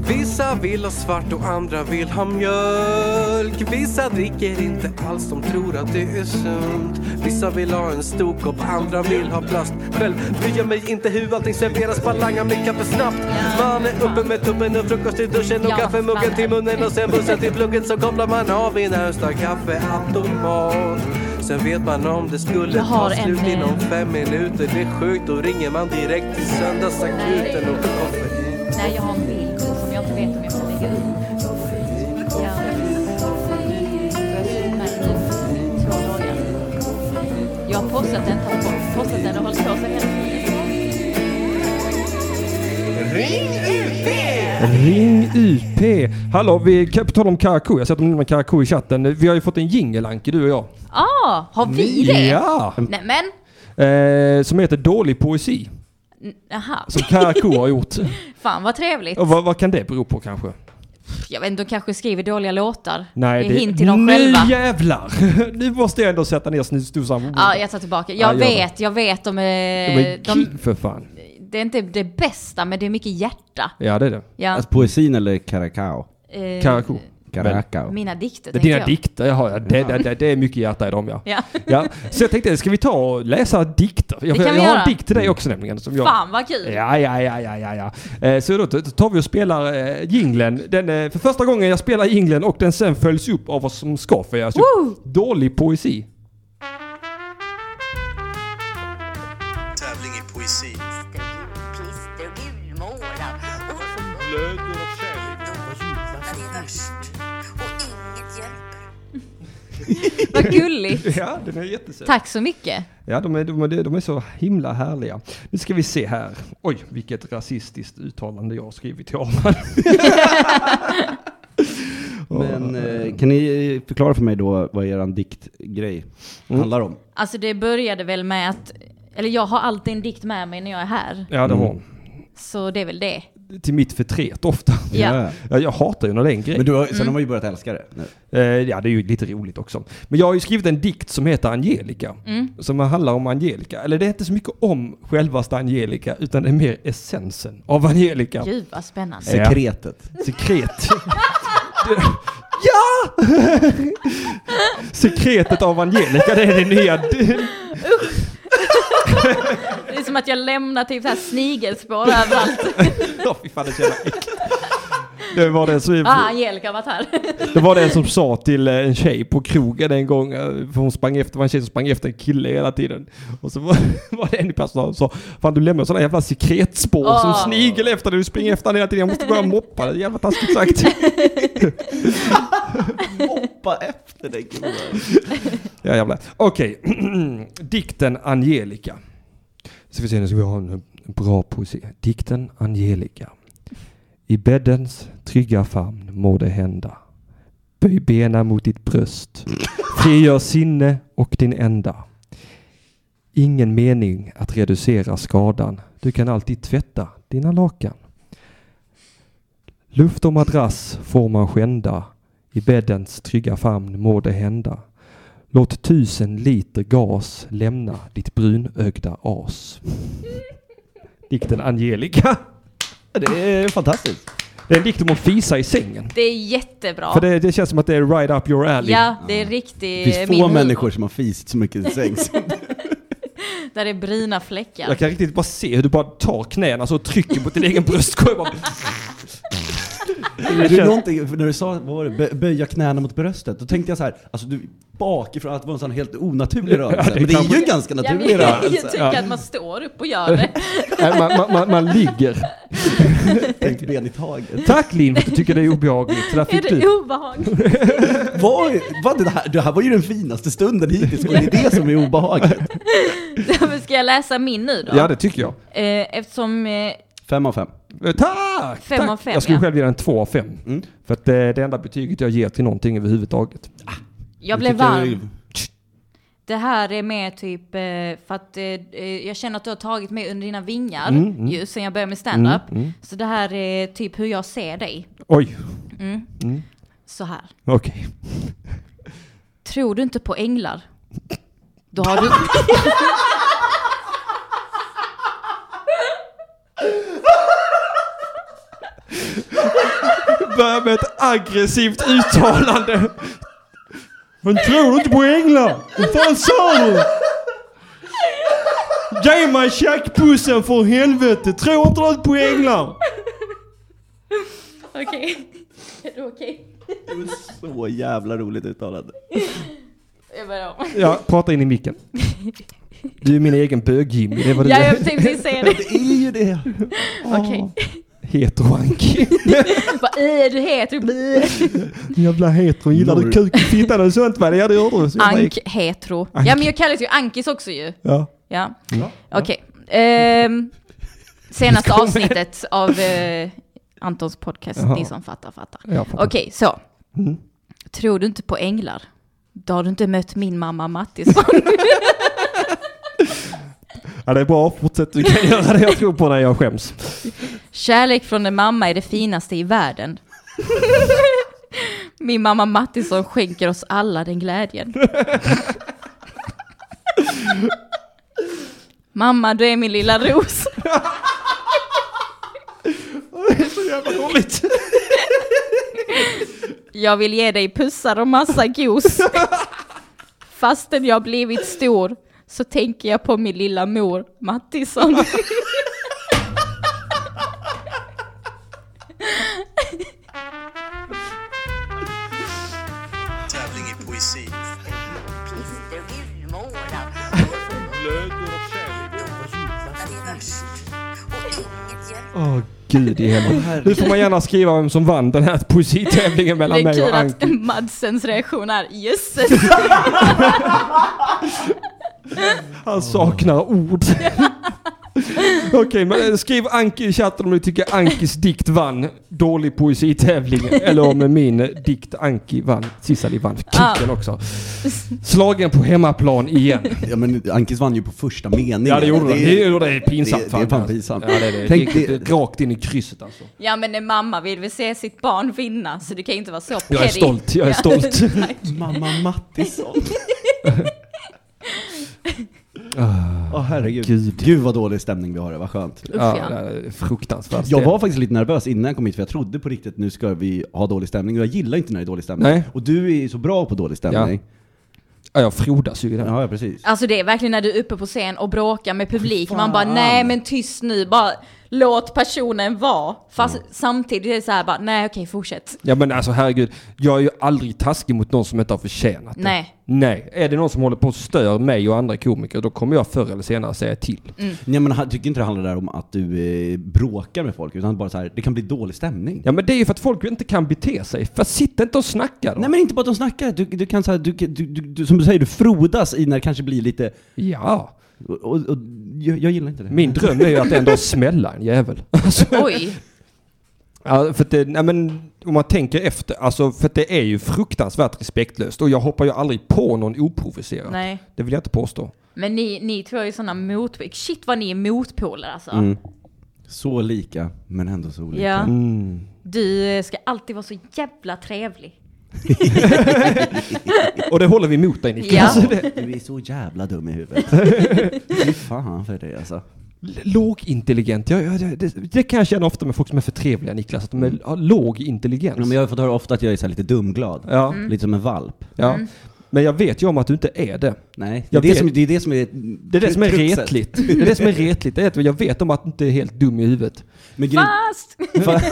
Vissa vill ha svart och andra vill ha mjölk. Vissa dricker inte alls, de tror att det är sunt. Vissa vill ha en stor kopp, andra vill ha plast. Själv bryr jag mig inte hur allting serveras, bara langar mitt kaffe snabbt. Man är uppe med tuppen och frukost i duschen och Ja, kaffemuggen fan. till munnen och sen bussen till plugget så kopplar man av i närmsta kaffeautomat. Sen vet man om det skulle Jag har ta slut en, eh, inom fem minuter. Det är sjukt, då ringer man direkt till söndagsakuten och koffein. Nej, jag har en bild som jag inte vet om jag får lägga upp. Ja. Jag har suttit med den i två dagar. Jag har postat den, tagit bort, postat den och hållit på så hela tiden. Ring UP! Hallå, vi kan på tal om Karakou. Jag har sett om med Karakou i chatten. Vi har ju fått en jingle, Anke, du och jag. Ah, har vi det? Ja! Nej men, Eh, som heter Dålig poesi. jaha. Som Karakou har gjort. Fan vad trevligt. Och vad, vad kan det bero på kanske? Jag vet inte, de kanske skriver dåliga låtar. Nej, det är hint till dem Nu själva. jävlar! nu måste jag ändå sätta ner snusdosan. Ja, jag tar tillbaka. Ja, Jag gör det. vet, jag vet. De är, Men de, ki- för fan. det är inte det bästa, men det är mycket hjärta. Ja, det är det. Ja, Alltså poesin eller karakao? eh, Karakou. Karakao. mina dikter Det är tänkte dina jag. dikter, jaha, ja, det, det, det, det är mycket hjärta i dem ja. Ja. ja. Så jag tänkte, ska vi ta och läsa dikter? Jag, Det kan jag vi har göra. en dikt till dig också nämligen. Som jag, Fan vad kul! Ja, ja, ja, ja, ja, ja. Eh, Så då t- tar vi och spelar eh, jinglen. Den, eh, för första gången jag spelar jinglen och den sen följs upp av vad som ska följas upp. Woo! Dålig poesi. tävling i poesi. klister, gulmålar och Glöd och kärlek. det är värst. Och inget hjälper. Vad gulligt! Ja, den är jättesöt. Tack så mycket! Ja, de är, de, är, de är så himla härliga. Nu ska vi se här. Oj, vilket rasistiskt uttalande jag har skrivit till Arman. Men eh, kan ni förklara för mig då vad er diktgrej Mm. handlar om? Alltså det började väl med att, eller jag har alltid en dikt med mig när jag är här, Ja, det har hon. så det är väl det. Mm. Till mitt förtret ofta. Ja. Ja, jag hatar ju när det är en grej. Men du har, sen har man ju börjat älska det nu. Eh, Ja, det är ju lite roligt också. Men jag har ju skrivit en dikt som heter Angelica. Som handlar om Angelica. Eller det är inte så mycket om självaste Angelica, utan det är mer essensen av Angelica. Gud vad spännande. Ja. Sekretet. Sekret. Det- ja! Sekretet av Angelica, det är det nya. Det är som att jag lämnar typ så här snigelspår överallt. Åh, fy fan, det är så jävla äckligt. Det var det som... Ah, Angelica har varit här. Det var den som sa till eh, en tjej på krogen en gång, eh, för hon sprang efter, det var en tjej som sprang efter en kille hela tiden. Och så var, var det en i personalen som sa, fan du lämnar sådana jävla sekretspår som Åh. snigel efter dig, du springer efter den hela tiden, jag måste börja moppa dig, jävla taskigt sagt. Hoppa efter dig gubben. Ja jävlar. Okej, dikten Angelica. Ska vi se, nu ska vi ha en en bra poesi. Dikten Angelica. I bäddens trygga famn må det hända. Böj bena mot ditt bröst. Frigör sinne och din ända. Ingen mening att reducera skadan. Du kan alltid tvätta dina lakan. Luft och madrass får man skända. I bäddens trygga famn må det hända. Låt tusen liter gas lämna ditt brunögda as. Dikten Angelica. Det är fantastiskt. Det är en dikt om att fisa i sängen. Det är jättebra. För det, det känns som att det är right up your alley. Ja, det är Det riktigt finns få människor som har fisit så mycket i säng. som- Där det är bruna fläckar. Jag kan riktigt bara se hur du bara tar knäna så och trycker mot din egen bröstkorg. Jag Bara... Det är någonting, för när du sa, vad var det, bö- böja knäna mot bröstet, då tänkte jag så här, alltså du bakifrån, att det var en sån helt onaturlig rörelse. det Men det är kan- ju typ- en ganska naturlig jag, jag, rörelse. tycker att man står upp och gör det. Nej, man, man, man, man ligger. Tänkt ben i taget. Tack Linn för att du tycker det är obehagligt. Så där är fick det typ du. obehagligt? Vad, vad det, här, det här var ju den finaste stunden hittills och det är det som är obehagligt. Men Ska jag läsa min nu då? Ja, det tycker jag. Eh, Eftersom... eh, Fem av fem. Eh, Tack! Fem tack. av fem, jag skulle ja. själv ge den två av fem. För att eh, det är det enda betyget jag ger till någonting överhuvudtaget. Jag blev varm. Det här är mer typ eh, för att eh, eh, jag känner att du har tagit mig under dina vingar Mm, ju sen jag började med stand-up. Så det här är typ hur jag ser dig. Oj, Så här. okej. Tror du inte på änglar? Då har du... Börja med ett aggressivt uttalande. Men tror du inte på änglar? Vad fan sa du? Ge mig tjackpussen för helvete! Tror inte du på änglar? Okej. Är det okej? Det var så jävla roligt uttalat. Jag börjar om. Ja, prata in i micken. Du är min egen bög-Jimmy, det var Ja, jag det tänkte precis säga det. Det är ju det. Okej. Heteroanki. Vad är du heter? Bli- Jävla hetero, gillar du Mor. kuk i fittan och sånt va? Ja det gör du. Så jävla äck- Ank hetero. Ja, men jag kallas ju Ankis också ju. Ja. Ja. Okej. Ehm, senaste avsnittet av eh, Antons podcast, Jaha. Mm. ni som fattar fattar. Jag fattar. Okej, så. Tror du inte på änglar? Då har du inte mött min mamma Mattisson. ja det är bra, fortsätt. Du kan göra det jag tror på när jag skäms. Kärlek från en mamma är det finaste i världen. Min mamma Mattisson skänker oss alla den glädjen. Mamma, du är min lilla ros. Jävla roligt. Jag vill ge dig pussar och massa gos. Fastän jag blivit stor så tänker jag på min lilla mor Mattisson. Tävling i poesi. Pister och gulmålar. Det är värst. Och inget hjälper. Åh gud i helvete. Nu får man gärna skriva vem som vann den här poesitävlingen Det mellan är mig kul och att Anki. Madsens reaktion är jösses. Han saknar ord. Okej, men eh, skriv Anki i chatten om du tycker Ankis dikt vann dålig poesitävling. Eller om min dikt Anki vann. Sisali vann kicken också. Slagen på hemmaplan igen. Ja men Ankis vann ju på första meningen. Ja det gjorde det. Det, gjorde det. pinsamt. det- det är fan pinsamt. Ja, det, är det. Tänk Gick det- Rakt in i krysset alltså. Ja men en mamma vill väl se sitt barn vinna så du kan ju inte vara så Jag är petty. stolt, jag är Ja. stolt. Tack. Mamma Mattisson. Åh herregud. Ah, Gud. Gud. vad dålig stämning vi har det, vad skönt. Usch ja. det är fruktansvärt. Jag var faktiskt lite nervös innan jag kom hit för jag trodde på riktigt nu ska vi ha dålig stämning och jag gillar inte när det är dålig stämning. Nej. Och du är ju så bra på dålig stämning. Ja, jag frodas ju i den. Ja, ja precis. Alltså det är verkligen när du är uppe på scen och bråkar med publik. Man bara nej men tyst nu, bara låt personen vara. Fast Mm. samtidigt är det så här bara nej okej fortsätt. Ja men alltså herregud, jag är ju aldrig taskig mot någon som inte har förtjänat det. Nej. Nej, är det någon som håller på och stör mig och andra komiker då kommer jag förr eller senare säga till. Mm. Nej men jag tycker inte det handlar där om att du eh, bråkar med folk utan bara så här, det kan bli dålig stämning. Ja men det är ju för att folk inte kan bete sig. För sitta inte och snacka då. Nej men inte bara att de snackar, du, du kan så här, du, du, du, du, som du säger, du frodas i när det kanske blir lite Ja. Och, och, och, jag, jag gillar inte det. Min dröm är ju att en dag smälla en jävel. Alltså, Oj. ja, för att det, nej men, om man tänker efter, alltså för att det är ju fruktansvärt respektlöst och jag hoppar ju aldrig på någon oprovocerat. Nej. Det vill jag inte påstå. Men ni, ni tror jag är sådana mot... Shit vad ni är motpoler alltså. Mm. Så lika, men ändå så olika. Ja. Mm. Du eh, ska alltid vara så jävla trevlig. Och det håller vi emot dig Nicke. Ja. Alltså, Du är så jävla dum i huvudet. Fy fan för dig alltså. L- Lågintelligent, ja, ja, det, det- det kan jag känna ofta med folk som är för trevliga Niklas, att de är, har låg intelligens. Ja, men jag har fått höra ofta att jag är så här lite dumglad. Ja. Lite som en valp. Ja. Men jag vet ju om att du inte är det. Nej, det är Jag det, vet. som, det är det som är... Det är det som är kruxet. retligt. Det är det som är retligt. Det är att jag vet om att du inte är helt dum i huvudet. Men grej, Fast!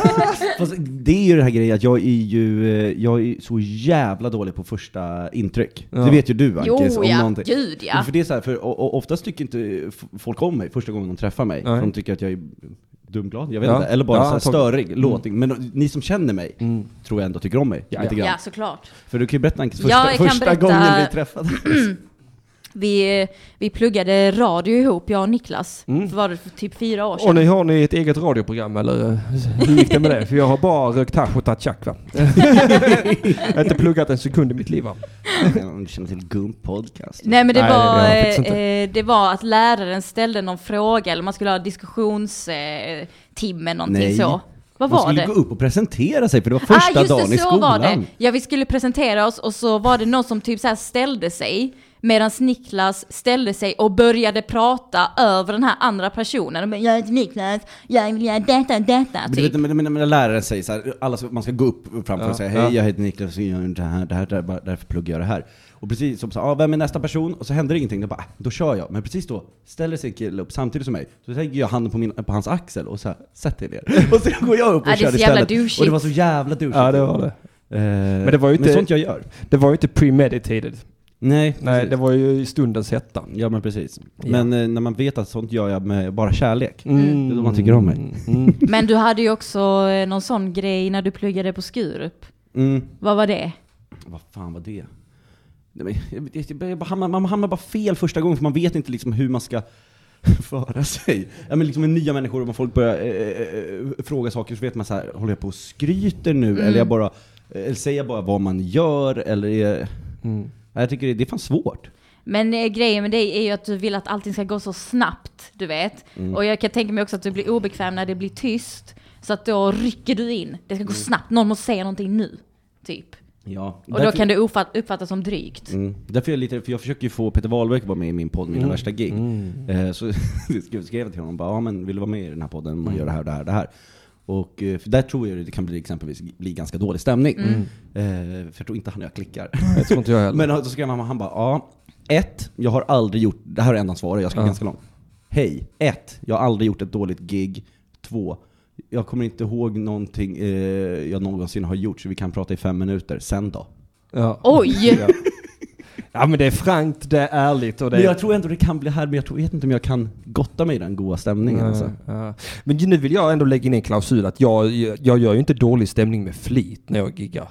fast det är ju det här grejen att jag är ju eh, jag är så jävla dålig på första intryck. Ja. Det vet ju du Jo Ankis. om ja, någonting. gud ja. För det är så här, för o- o- oftast tycker inte f- folk om mig första gången de träffar mig. Nej. För de tycker att jag är dumglad, jag vet Ja. inte. Eller bara Ja, så här antagligen. störig, låtig. Men de- ni som känner mig Mm. tror jag ändå tycker om mig. Ja, lite grann. Ja, såklart. För du kan ju berätta Ankis Ja, första, jag kan första berätta- gången vi träffades. Vi, eh, vi pluggade radio ihop, jag och Niklas. Mm. För var det för typ fyra år sedan? Och nu har ni ett eget radioprogram eller eh, hur gick det med det? För jag har bara rökt hasch och tagit tjack va? jag har inte pluggat en sekund i mitt liv va? Om du känner till Gump Podcast. Nej men det, Nej, det var, gör han det, faktiskt inte. eh, det var att läraren ställde någon fråga eller man skulle ha diskussionstimme eh, timme, någonting Nej. så. Man Vad var skulle det? Ah, gå upp och presentera sig för det var första just dagen det, i så skolan. Var det. Ja vi skulle presentera oss och så var det någon som typ så här ställde sig medan Niklas ställde sig och började prata över den här andra personen. Men jag heter Niklas, jag vill göra detta, detta Men du typ. vet, men, men, men läraren säger så här, alla, ska- man ska gå upp framför och säga hej ja. jag heter Niklas, jag gör det här, det här, det här, bara därför pluggar jag det här. Och precis som så, ah, vem är nästa person? Och så händer det ingenting, då bara, ah, då kör jag. Men precis då ställer sig en kille upp samtidigt som mig, så lägger jag handen på, min, på hans axel och så här, sätt dig ner. Och sen går jag upp och Ja, det kör är så jävla istället. douchigt. Och det var så jävla douchigt. Ja det var det. men det var ju inte- Men sånt jag gör. Det var ju inte premeditated. Nej, Nej, precis. det var ju i stundens hetta. Ja men precis. Ja. Men eh, när man vet att sånt gör jag med bara kärlek, det är då man tycker om mig. Mm. Men du hade ju också eh, någon sån grej när du pluggade på Skurup. Mm. Vad var det? Vad fan var det? Nej, men, jag, jag, jag, bara hamnar- man hamnar bara fel första gången för man vet inte liksom hur man ska föra sig. Ja, men liksom med nya människor och folk börjar eh, eh, fråga saker så vet man så här, håller jag på och skryter nu? Eller, Mm. jag bara, eh, eller säger jag bara vad man gör? Eller är, Mm. Nej, Jag tycker det, det är fan svårt. Men eh, grejen med dig är ju att du vill att allting ska gå så snabbt, du vet. Mm. Och jag kan tänka mig också att du blir obekväm när det blir tyst. Så att då rycker du in. Det Mm. ska gå snabbt, någon måste säga någonting nu. Typ. Ja, Och då kan det uppfatt- uppfattas som drygt. Mm. Därför är jag lite, för jag försöker ju få Peter Wahlberg att vara med i min podd, Mina värsta gig. Eh, så skrev, skrev jag till honom bara, ja men vill du vara med i den här podden? Man gör det här, det här, det här. Och eh, för där tror jag det kan bli exempelvis bli ganska dålig stämning. Eh, för jag tror inte han och jag klickar. Jag tror inte jag heller. men då skrev han, han bara, ja. Ett, jag har aldrig gjort, det här är enda svaret, jag ska Ja. ganska långt. Hej, ett, jag har aldrig gjort ett dåligt gig. Två, jag kommer inte ihåg någonting eh, jag någonsin har gjort så vi kan prata i fem minuter. Sen då? Ja. Oj! Ja. ja men det är frankt, det är ärligt och det är... Men jag tror ändå det kan bli här, men jag tror, jag vet inte om jag kan gotta mig i den goda stämningen alltså. Ja. Men nu vill jag ändå lägga in en klausul att jag, jag gör ju inte dålig stämning med flit när jag giggar.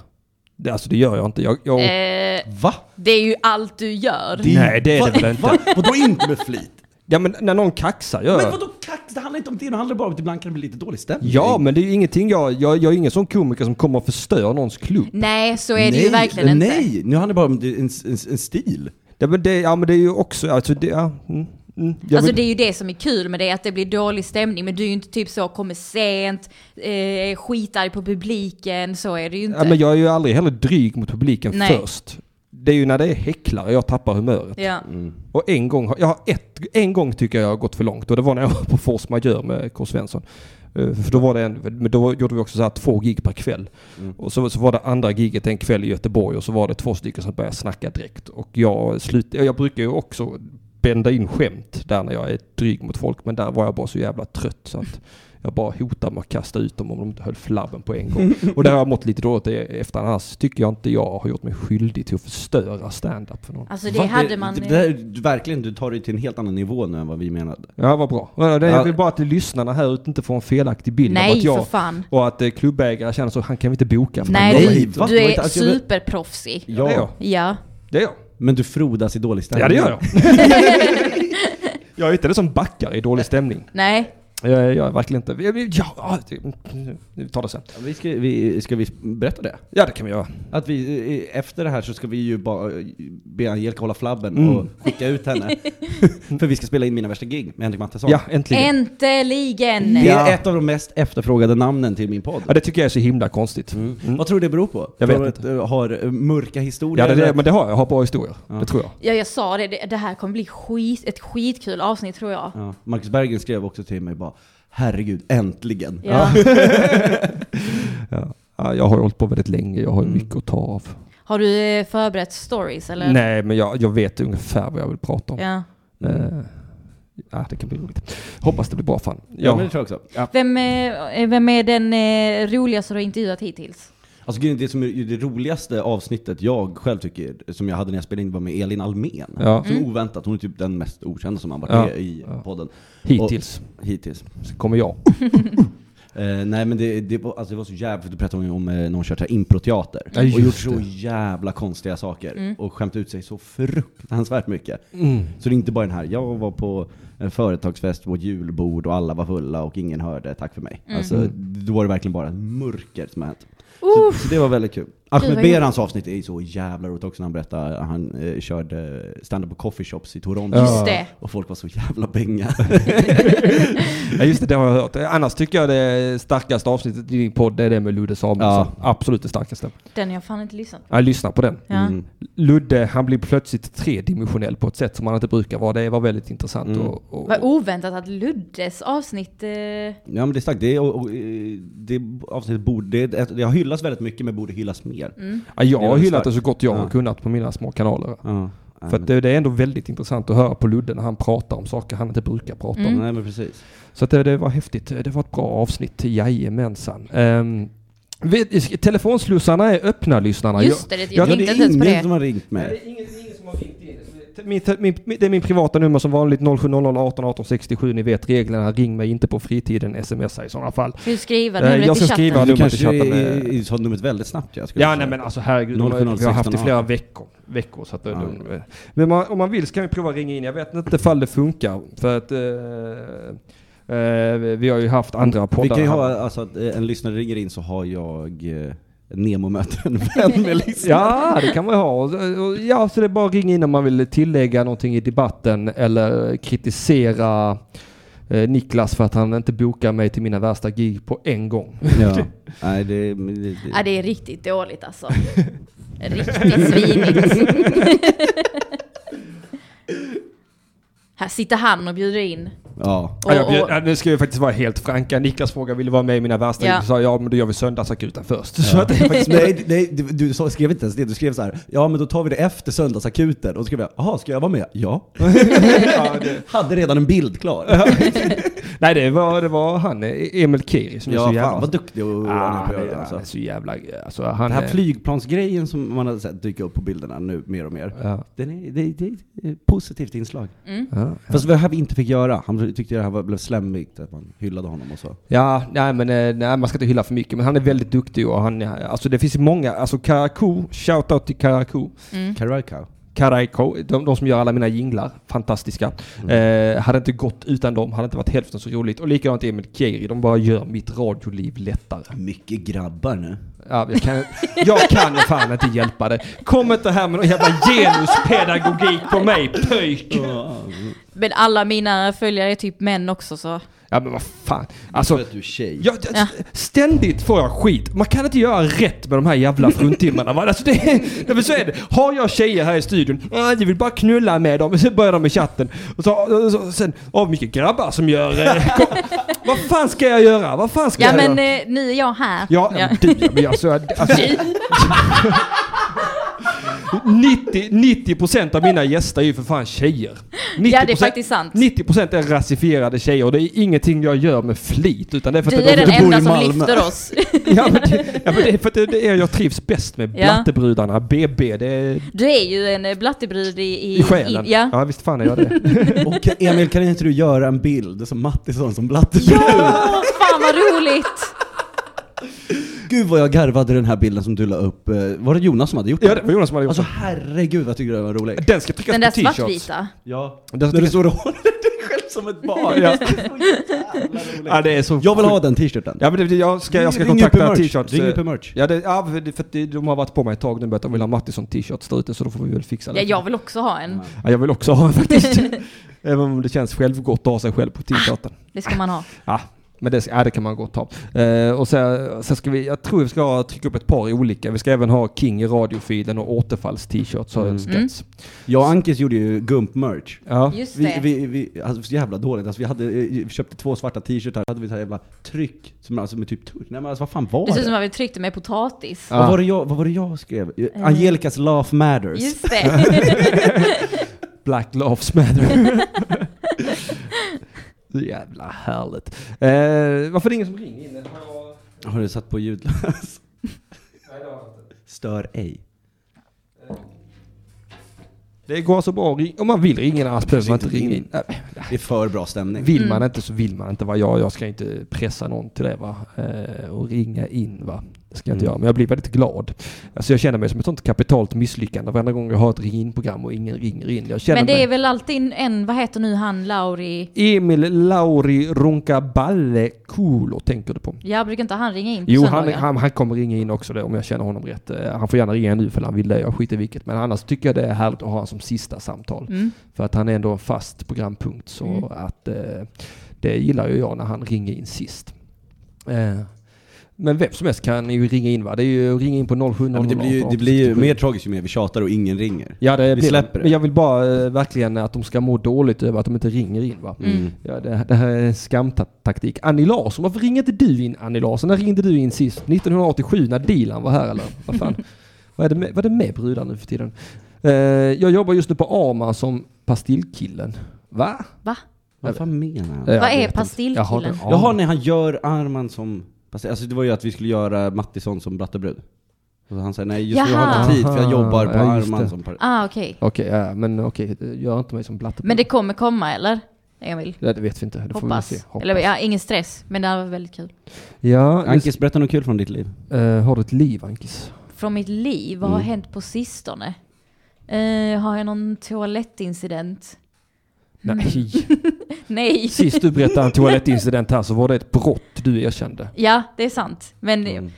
Det, alltså det gör jag inte. Jag, jag, Eh, Va? det är ju allt du gör. Nej, det är det väl inte. Va? Vadå inte med flit? Ja men när någon kaxar gör Men jag. vadå kax? Det handlar inte om det, det handlar bara om att ibland kan det bli lite dålig stämning. Ja men det är ju ingenting jag, jag, jag är ingen sån komiker som kommer att förstöra någons klubb. Nej, så är det ju verkligen inte. Nej, nu handlar det bara om det- en, en, en stil. Ja men det, ja, men det är ju också, alltså det, ja, mm, mm, jag Alltså vill- det är ju det som är kul med det, att det blir dålig stämning. Men du är ju inte typ så, kommer sent, eh, skitar på publiken, så är det ju inte. ja, men jag är ju aldrig heller dryg mot publiken Nej. först. Det är ju när det är häcklare jag tappar humöret. ja. Och en gång, har- jag har ett, en gång tycker jag har gått för långt och det var när jag var på Force Majeure med K. Svensson. Eh, För då, var det en, men då gjorde vi också så här två gig per kväll. Och så, så var det andra giget en kväll i Göteborg och så var det två stycken som började snacka direkt. Och jag, slut, jag brukar ju också bända in skämt där när jag är dryg mot folk men där var jag bara så jävla trött så att jag bara hotade med att kasta ut dem om de inte höll flabben på en gång. Och där har jag mått lite dåligt i efterhand. Annars tycker jag inte jag har gjort mig skyldig till att förstöra stand-up för någon. Alltså det Va? hade man... Det, det där, du- verkligen, du tar det till en helt annan nivå nu än vad vi menade. Ja, vad bra. Ja, det- Jag Ja. vill bara att lyssnarna här ute inte får en felaktig bild av Nej, att jag för fan. och att eh, klubbägare känner så han kan vi inte boka. För Nej, han Nej, kommer hit. du, va? du Det var är inte- alltså, jag vet- superproffsig. Ja, det är jag. Ja. Det är jag. Men du frodas i dålig stämning. Ja, det gör jag. Jag är inte den som backar i dålig stämning. Nej. Jag, är- jag är verkligen inte... vi- vi- Ja, ja, det- vi tar det sen. Vi ska, vi, ska vi berätta det? Ja, det kan vi göra. Att vi, eh, efter det här så ska vi ju bara eh, be Angelica hålla flabben och skicka ut henne. För vi ska spela in Mina värsta gig med Henrik Mattisson. Ja, äntligen. Äntligen! Det Ja. är ett av de mest efterfrågade namnen till min podd. Ja, det tycker jag är så himla konstigt. Mm. Vad tror du det beror på? Jag tror vet du att du har eh, mörka Ja, historier? det, det, eller? men det har jag. Jag har bra historier. Det tror jag. Ja, jag sa det. Det, det här kommer bli skit, ett skitkul avsnitt tror jag. ja. Marcus Berggren skrev också till mig bara Herregud, äntligen! Ja. Ja, Mm. jag har ju hållit på väldigt länge. Jag har ju mycket att ta av. Har du eh, förberett stories eller? Nej, men jag, jag vet ungefär vad jag vill prata om. Ja. Eh, ja, det kan bli roligt. Hoppas det blir bra fan. Ja, Ja. men det tror jag också. Ja. Vem, eh, vem är den eh, roligaste du har intervjuat hittills? Alltså grejen är, det som är det roligaste avsnittet jag själv tycker, som jag hade när jag spelade in, var med Elin Almen. Ja. Mm. Så oväntat, hon är typ den mest okända som har varit Ja. med i podden. Hittills. Och, hittills. Så kommer jag. Eh, nej men det, det, var, alltså det var så jävligt, för då pratade hon ju om eh, när hon kört så här improteater. Ja, och just gjort så det. jävla konstiga saker. Mm. Och skämt ut sig så fruktansvärt mycket. Mm. Så det är inte bara den här, jag var på en företagsfest på ett julbord och alla var fulla och ingen hörde, tack för mig. Mm. Alltså då var det verkligen bara mörker som har hänt. Så, så det var väldigt kul. Ahmed vad Berans avsnitt är ju så jävla roligt också när han berättar att han eh, körde stand-up på coffeeshops i Toronto. Just det. Och folk var så jävla bänga. Ja, just det, det har jag hört. Annars tycker jag det starkaste avsnittet i din podd är det med Ludde Samuelsson. Absolut det starkaste. Den har jag fan inte lyssnat på. Ja, lyssna på den. Ja. Mm. Ludde, han blir plötsligt tredimensionell på ett sätt som han inte brukar vara. Det var väldigt intressant. Och, och, Vad oväntat att Luddes avsnitt... Eh, Ja men det är starkt. Det, är- och, och, eh, det avsnittet borde, det, det har hyllats väldigt mycket men borde hyllas mer. mm. ja, jag Det har var hyllat starkt. det så gott jag har Ja. kunnat på mina små kanaler. Ja. Nej, För men- att det, det är ändå väldigt intressant att höra på Ludde när han pratar om saker han inte brukar prata om. Mm. Nej men precis. Så att det, det var häftigt. Det var ett bra avsnitt. Jajamensan. Um, telefonslussarna är öppna lyssnarna. just det, det- jag jag- Ja, tänkte inte ens på ingen det. som har ringt Nej, mig. det är ingen, det är ingen som har ringt in. Min, min, min, det är min privata nummer som vanligt 0700 18 18 67. Ni vet reglerna. Ring mig inte på fritiden. Smsa i sådana fall. Ska du skriva Eh, numret jag i ska chatten? skriva Du numret i kanske chatten. är- eh. är- sa numret väldigt snabbt jag skulle Ja, säga. nej men alltså herregud. 0700 vi har haft det i 16 flera veckor. veckor så att, det- Men man, om man vill så kan vi prova att ringa in. Jag vet inte ifall det funkar. För att eh, eh, vi har ju haft andra poddar. Vi kan ju här. ha, alltså att eh, en lyssnare ringer in så har jag eh, Nemo-möte en vän med lyssnare. Ja, det kan man ha. Och- och- Ja, så det är bara att ringa in om man vill tillägga någonting i debatten eller kritisera eh, Niklas för att han inte bokar mig till mina värsta gig på en gång. ja. Nej det, men det, Ja, det är riktigt dåligt alltså. riktigt svinigt. Här sitter han och bjuder in. ja. Och, jag bjöd, och, ja, nu ska vi faktiskt vara helt franka. Niklas frågade ville vara med i mina värsta Ja. gig. Så sa jag, ja men då gör vi söndagsakuten först. Så att, Faktiskt, nej, nej du, du sa- skrev inte ens det. Du skrev så här. ja men då tar vi det efter söndagsakuten. Och då skrev jag, jaha ska jag vara med? Ja. Hade redan en bild klar. nej, det var, det var han, eh, Emil Kiri, som är Ja, så jävla... fan vad duktig ah, och, han är han, på att är, göra han alltså. är så jävla... Alltså, han Den här är- flygplansgrejen som man har sett dyka upp på bilderna nu mer och mer. Ja. Den är, det, det är ett positivt inslag. Fast det här vi inte fick göra. Han tyckte det här var, blev slemmigt, att man hyllade honom och så. Ja, nej men eh, nej, man ska inte hylla för mycket. Men han är väldigt duktig och han, alltså det finns ju många, alltså Karakou, shoutout till Karakou. Karakao. Karaiko, de, de som gör alla mina jinglar, fantastiska. Eh, hade inte gått utan dem, hade inte varit hälften så roligt. Och likadant Emil Kiri, de bara gör mitt radioliv lättare. Mycket grabbar nu. Ja, jag, kan, jag kan fan inte hjälpa det. Kom inte här med någon jävla genuspedagogik på mig, pöjk! men alla mina följare är typ män också så. Ja men vad fan. Alltså, För att du är tjej. Ja, d- Ja. Ständigt får jag skit. Man kan inte göra rätt med de här jävla fruntimmarna. va? Alltså det, nej, men så är det. Har jag tjejer här i studion, "Ah, jag vill bara knulla med dem. Och så börjar de i chatten. Och så, och så, sen, av mycket grabbar som gör... Eh, kom, vad fan ska jag göra? Vad fan ska Ja jag men göra? eh, nu är jag här. Ja, men du, ja, men alltså, alltså, 90, 90% av mina gäster är ju för fan tjejer. 90%, Ja, det är faktiskt sant. 90% är rasifierade tjejer och det är ingenting jag gör med flit. Utan det är för att Du det- är den det bor i enda som Malmö. lyfter oss. Ja men, det, ja, men det är för att det, det är jag trivs bäst med. Ja. Blattebrudarna, BB, det är Du är ju en eh, blattebrud i... i själen. ja. ja visst fan är jag det. Och Emil, kan inte du göra en bild som Mattisson som blatte? ja! Fan vad roligt! Gud vad jag garvade den här bilden som du la upp. Eh, Var det Jonas som hade gjort Ja den? det var Jonas som hade gjort Alltså det. herregud vad jag tyckte det var roligt. Den ska tryckas Den där på t-shirts. svartvita. Ja. Den När ska du tryckas, står och håller dig som ett barn. Ja. Ja, det är så Jag vill ha sjukt. den t-shirten. Ja, men det, jag ska, jag ska Ring- ring kontakta UP Merch. t-shirts. Ring eh, UP Merch. Ja, det, ja, för det- för det, de har varit på mig ett tag nu med att de vill ha Mattisson t-shirts där ute, så då får vi väl fixa det. Ja, jag vill också ha en. Ja, jag vill också ha en faktiskt. Även om det känns självgott att ha sig själv på t-shirten. Det ska man ha. Ja, men det, ja, det kan man gott ha. Eh, och sen, sen ska vi, jag tror vi ska ha- trycka upp ett par olika. Vi ska även ha King i radiofilen och återfalls-t-shirts har önskats. Jag och Ankis gjorde ju Gump-merch. Ja. Just Vi, det. vi, vi, alltså så jävla dåligt. Alltså, vi, hade, eh, vi köpte två svarta t-shirtar, hade vi så här jävla tryck som alltså med typ turk. Nej men alltså vad fan var Det ser ut det? som att vi tryckte med potatis. Vad, var det jag, vad var det jag skrev? Angelicas laugh matters. Eh, Just det. Black Lives Matter. Så Jävla härligt. Eh, varför är det ingen som ringer in? Har- Har du satt på ljudlös? Stör ej. Det går så bra att ringa. Om man vill ringa in annars behöver man inte inte ringa in. in. Nej. Det är för bra stämning. Mm. Vill man inte så vill man inte. Va? Jag, jag ska inte pressa någon till det va? Eh, och ringa in. Va? Det ska jag inte Mm. göra. Men jag blir väldigt glad. Alltså, jag känner mig som ett sånt kapitalt misslyckande varenda gång jag har ett ring-in-program och ingen ringer in. Jag känner Men det är mig... väl alltid en, vad heter nu han, Lauri? Emil Lauri Runkaballe Kulo tänker du på. Jag brukar inte han ringa in på Jo, han, söndagar? han, han kommer ringa in också då, om jag känner honom rätt. Eh, Han får gärna ringa nu för han vill det, jag skiter i vilket. Men annars tycker jag det är härligt att ha honom som sista samtal. Mm. För att han är ändå en fast programpunkt så Mm. att eh, det gillar ju jag när han ringer in sist. Eh, men vem som helst kan ju ringa in va? Det är ju ringa in på 07 Ja, men det, blir ju, det blir ju mer tragiskt ju mer vi tjatar och ingen ringer. Ja, det vi blir, släpper det. Men jag vill bara eh, verkligen att de ska må dåligt över att de inte ringer in va? Mm. Ja, det, det här är en skamtaktik. Annie Larsson, varför ringer inte du in Annie Larsson? När ringde du in sist? 1987 när Dilan var här eller? Vad fan? vad, är det med, vad är det med brudar nu för tiden? Eh, jag jobbar just nu på Arman som pastillkillen. Va? Va? Vad fan menar han? Eh, jag Vad är vet inte. pastillkillen? Jag har ingen aning. Jaha, nej han gör Arman som... fast, Alltså det var ju att vi skulle göra Mattisson som brattebröd. Och han säger nej just nu har jag Jaha. inte tid för jag jobbar på Ja, just det. Arman som... par- Ah, okej. Okej, ja, men okej. Gör inte mig som blatte. Men det kommer komma, eller? Emil? Ja, det vet vi inte. Det får vi väl Hoppas. se. Hoppas. Eller ja, ingen stress. Men det här var väldigt kul. ja, just, Ankis, berätta något kul från ditt liv. eh, har du ett liv Ankis? Från mitt liv, vad Mm. har hänt på sistone? Eh, har jag någon toalettincident? Mm. Nej. Nej. Sist du berättade en toalettincident här så var det ett brott du erkände. Ja, det är sant. Men Mm. Mm.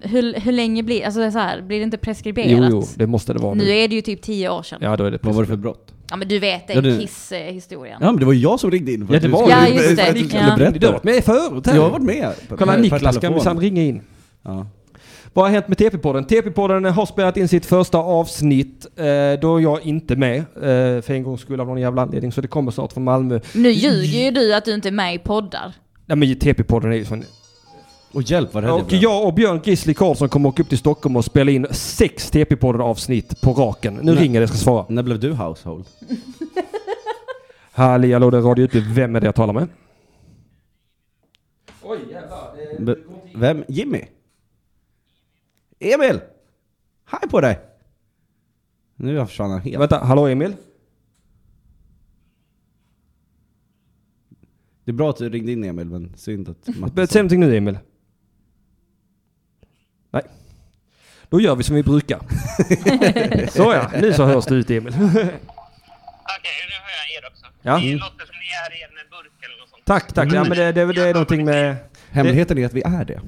hur, hur länge blir, alltså det är så här, blir det inte Jo, preskriberat? jo, det måste det vara Nu nu. är det ju typ tio år sedan. Ja, Ja, då är det Vad var det för brott? men du vet Ja, den du- kisshistorien. Ja men det var ju jag som ringde in. för Ja, att det du var skulle- Ja, just det. för att du skulle Ja. berätta. Du har varit med förut här. Jag har varit med. Kolla, Per Niklas kan telefon. minsann ringa in. Ja. Vad har hänt med TP-podden? TP-podden har spelat in sitt första avsnitt. Eh, då är jag inte med, eh, för en gångs skull av någon jävla anledning. Så det kommer snart från Malmö. Nu ljuger ju du att du inte är med i poddar. Nej men TP-podden är ju sån Och hjälp vad rädd Och blev. jag och Björn Gisli Karlsson kommer åka upp till Stockholm och spela in sex TP-podden-avsnitt på raken. Nu Nej. ringer det, jag ska svara. När blev du household? Halli hallå, det är Radio Utby. Vem är det jag talar med? Oj jävlar. Be- Vem? Jimmy? Emil! Hej på dig! Nu försvann han helt. Vänta, hallå Emil? Det är bra att du ringde in Emil, men synd att Be- Mattis... Säg någonting nu Emil. Nej. Då gör vi som vi brukar. så ja, nu så hörs du ut Emil. Okej, nu hör jag er också. Ja. Det låter som ni är i en burk eller något sånt. Tack, tack. Ja, men det, det, det är någonting med... Hemligheten är att vi är det. Eh,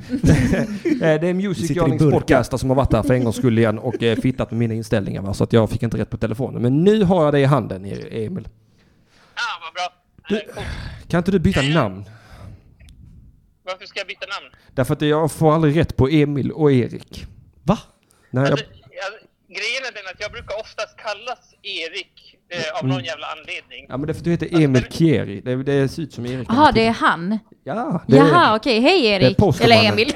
Det är Vi Music sitter i Yearnings burkar. podcaster som har varit här för en gångs skull igen och eh, fittat med mina inställningar va? så att jag fick inte rätt på telefonen. Men nu har jag det i handen E- Emil. Ja, vad bra. Eh, coolt. Kan inte du byta namn? Varför ska jag byta namn? Därför att jag får aldrig rätt på Emil och Erik. Va? Nej, jag, Alltså, jag- grejen är den att jag brukar oftast kallas Erik eh, av någon jävla anledning. Mm. ja men det är för att du heter Emil Kieri. Det, det ser ut som Erik. Jaha, det är han. Ja, det är- Jaha, okej. Hej Erik. postmannen. Eller Emil.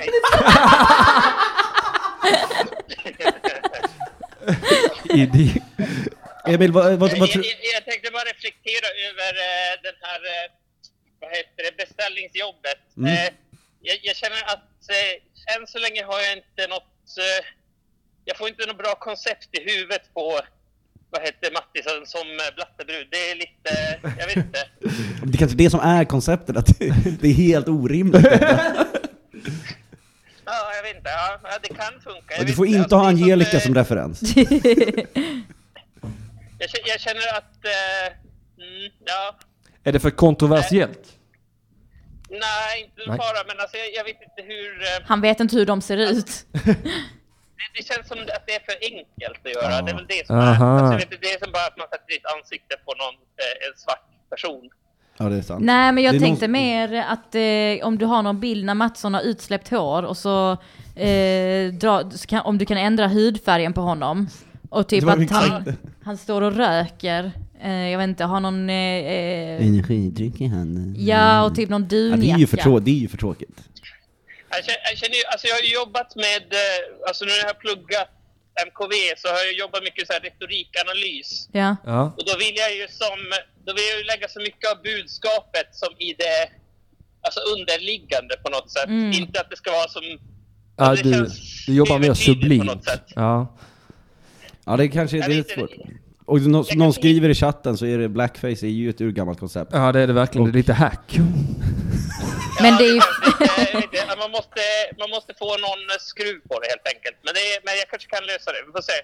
Idi. Emil, vad, vad, vad Jag, tror jag, jag tänkte bara reflektera över eh, den här, eh, vad heter det, beställningsjobbet. Mm. Eh, jag, jag känner att eh, än så länge har jag inte något, eh, jag får inte något bra koncept i huvudet på vad heter Mattisen som eh, blattebrud. Det är lite, jag vet inte. Det är kanske det som är konceptet, att det är helt orimligt. Ja, jag vet inte. Ja, ja, det kan funka. Jag Du vet får inte Alltså, ha det är Angelica eh, som referens. Jag, kä- jag känner att, eh, mm, ja. Är det för kontroversiellt? Nej, inte Nej. bara, men alltså, jag, jag vet inte hur... eh, Han vet inte hur de ser ut. Det, det känns som att det är för enkelt att göra. Det är väl det som Aha. är... Alltså, jag vet, inte, det är som bara att man sätter ditt ansikte på någon, eh, en svart person. Ja, det är sant. Nej, men Det jag är tänkte någon- mer att eh, om du har någon bild när Mattsson har utsläppt hår och så, eh, dra, så kan, om du kan ändra hudfärgen på honom. Och Det typ var att exakt han, det. han står och röker. Eh, jag vet inte, har någon... Eh, eh, Energidryck i handen. ja, och typ någon Ja, dunjacka. det, är ju för trå- det är ju för tråkigt. Jag känner, jag, känner, ju- alltså jag har ju jobbat med, eh, alltså nu när jag har pluggat MKV så har jag jobbat mycket så här retorikanalys. Ja. Ja. Och då vill jag ju som, då vill jag ju lägga så mycket av budskapet som i det, alltså underliggande på något sätt. Mm. Inte att det ska vara som, alltså Ja, det du, känns du jobbar mer övertydligt på sublimt. något sätt. Ja. Ja, det kanske Jag det är vet inte. svårt. Och nå- kan någon inte- skriver i chatten så är det blackface är ju ett urgammalt koncept. ja, det är det verkligen. Det är lite hack. Men det är ju... eh, jag vet inte, man, måste, man måste få någon skruv på det helt enkelt. Men, det, är- men jag kanske kan lösa det, vi får se.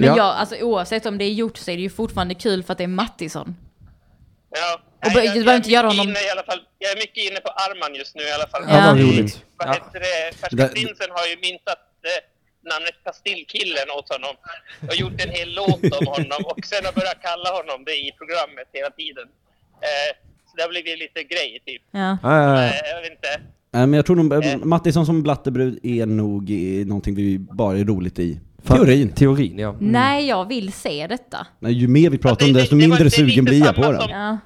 Men Ja. ja, alltså, oavsett om det är gjort så är det ju fortfarande kul för att det är Mattisson. Ja. Och Nej, bör- jag- du jag behöver är inte göra mycket honom- Inne i alla fall, jag är mycket inne på Arman just nu i alla fall. Ja, vad Ja. roligt. Vad Ja. heter det? Det- Färska prinsen har ju myntat eh, namnet Pastillkillen åt honom och gjort en hel låt om honom och sen har börjat kalla honom det i programmet hela tiden. Eh, så det har blivit lite grej typ. Ja. Ja, ja, Eh, jag vet inte. Nej, men jag tror nog Eh. Mattisson som blattebrud är nog i någonting vi bara är roligt i. ja. Teorin. Teorin, ja. Mm. Nej, jag vill se detta. Nej, ju mer vi pratar om Ja, det, det- desto det- det var- mindre det är sugen lite blir jag på samma den. som- Ja.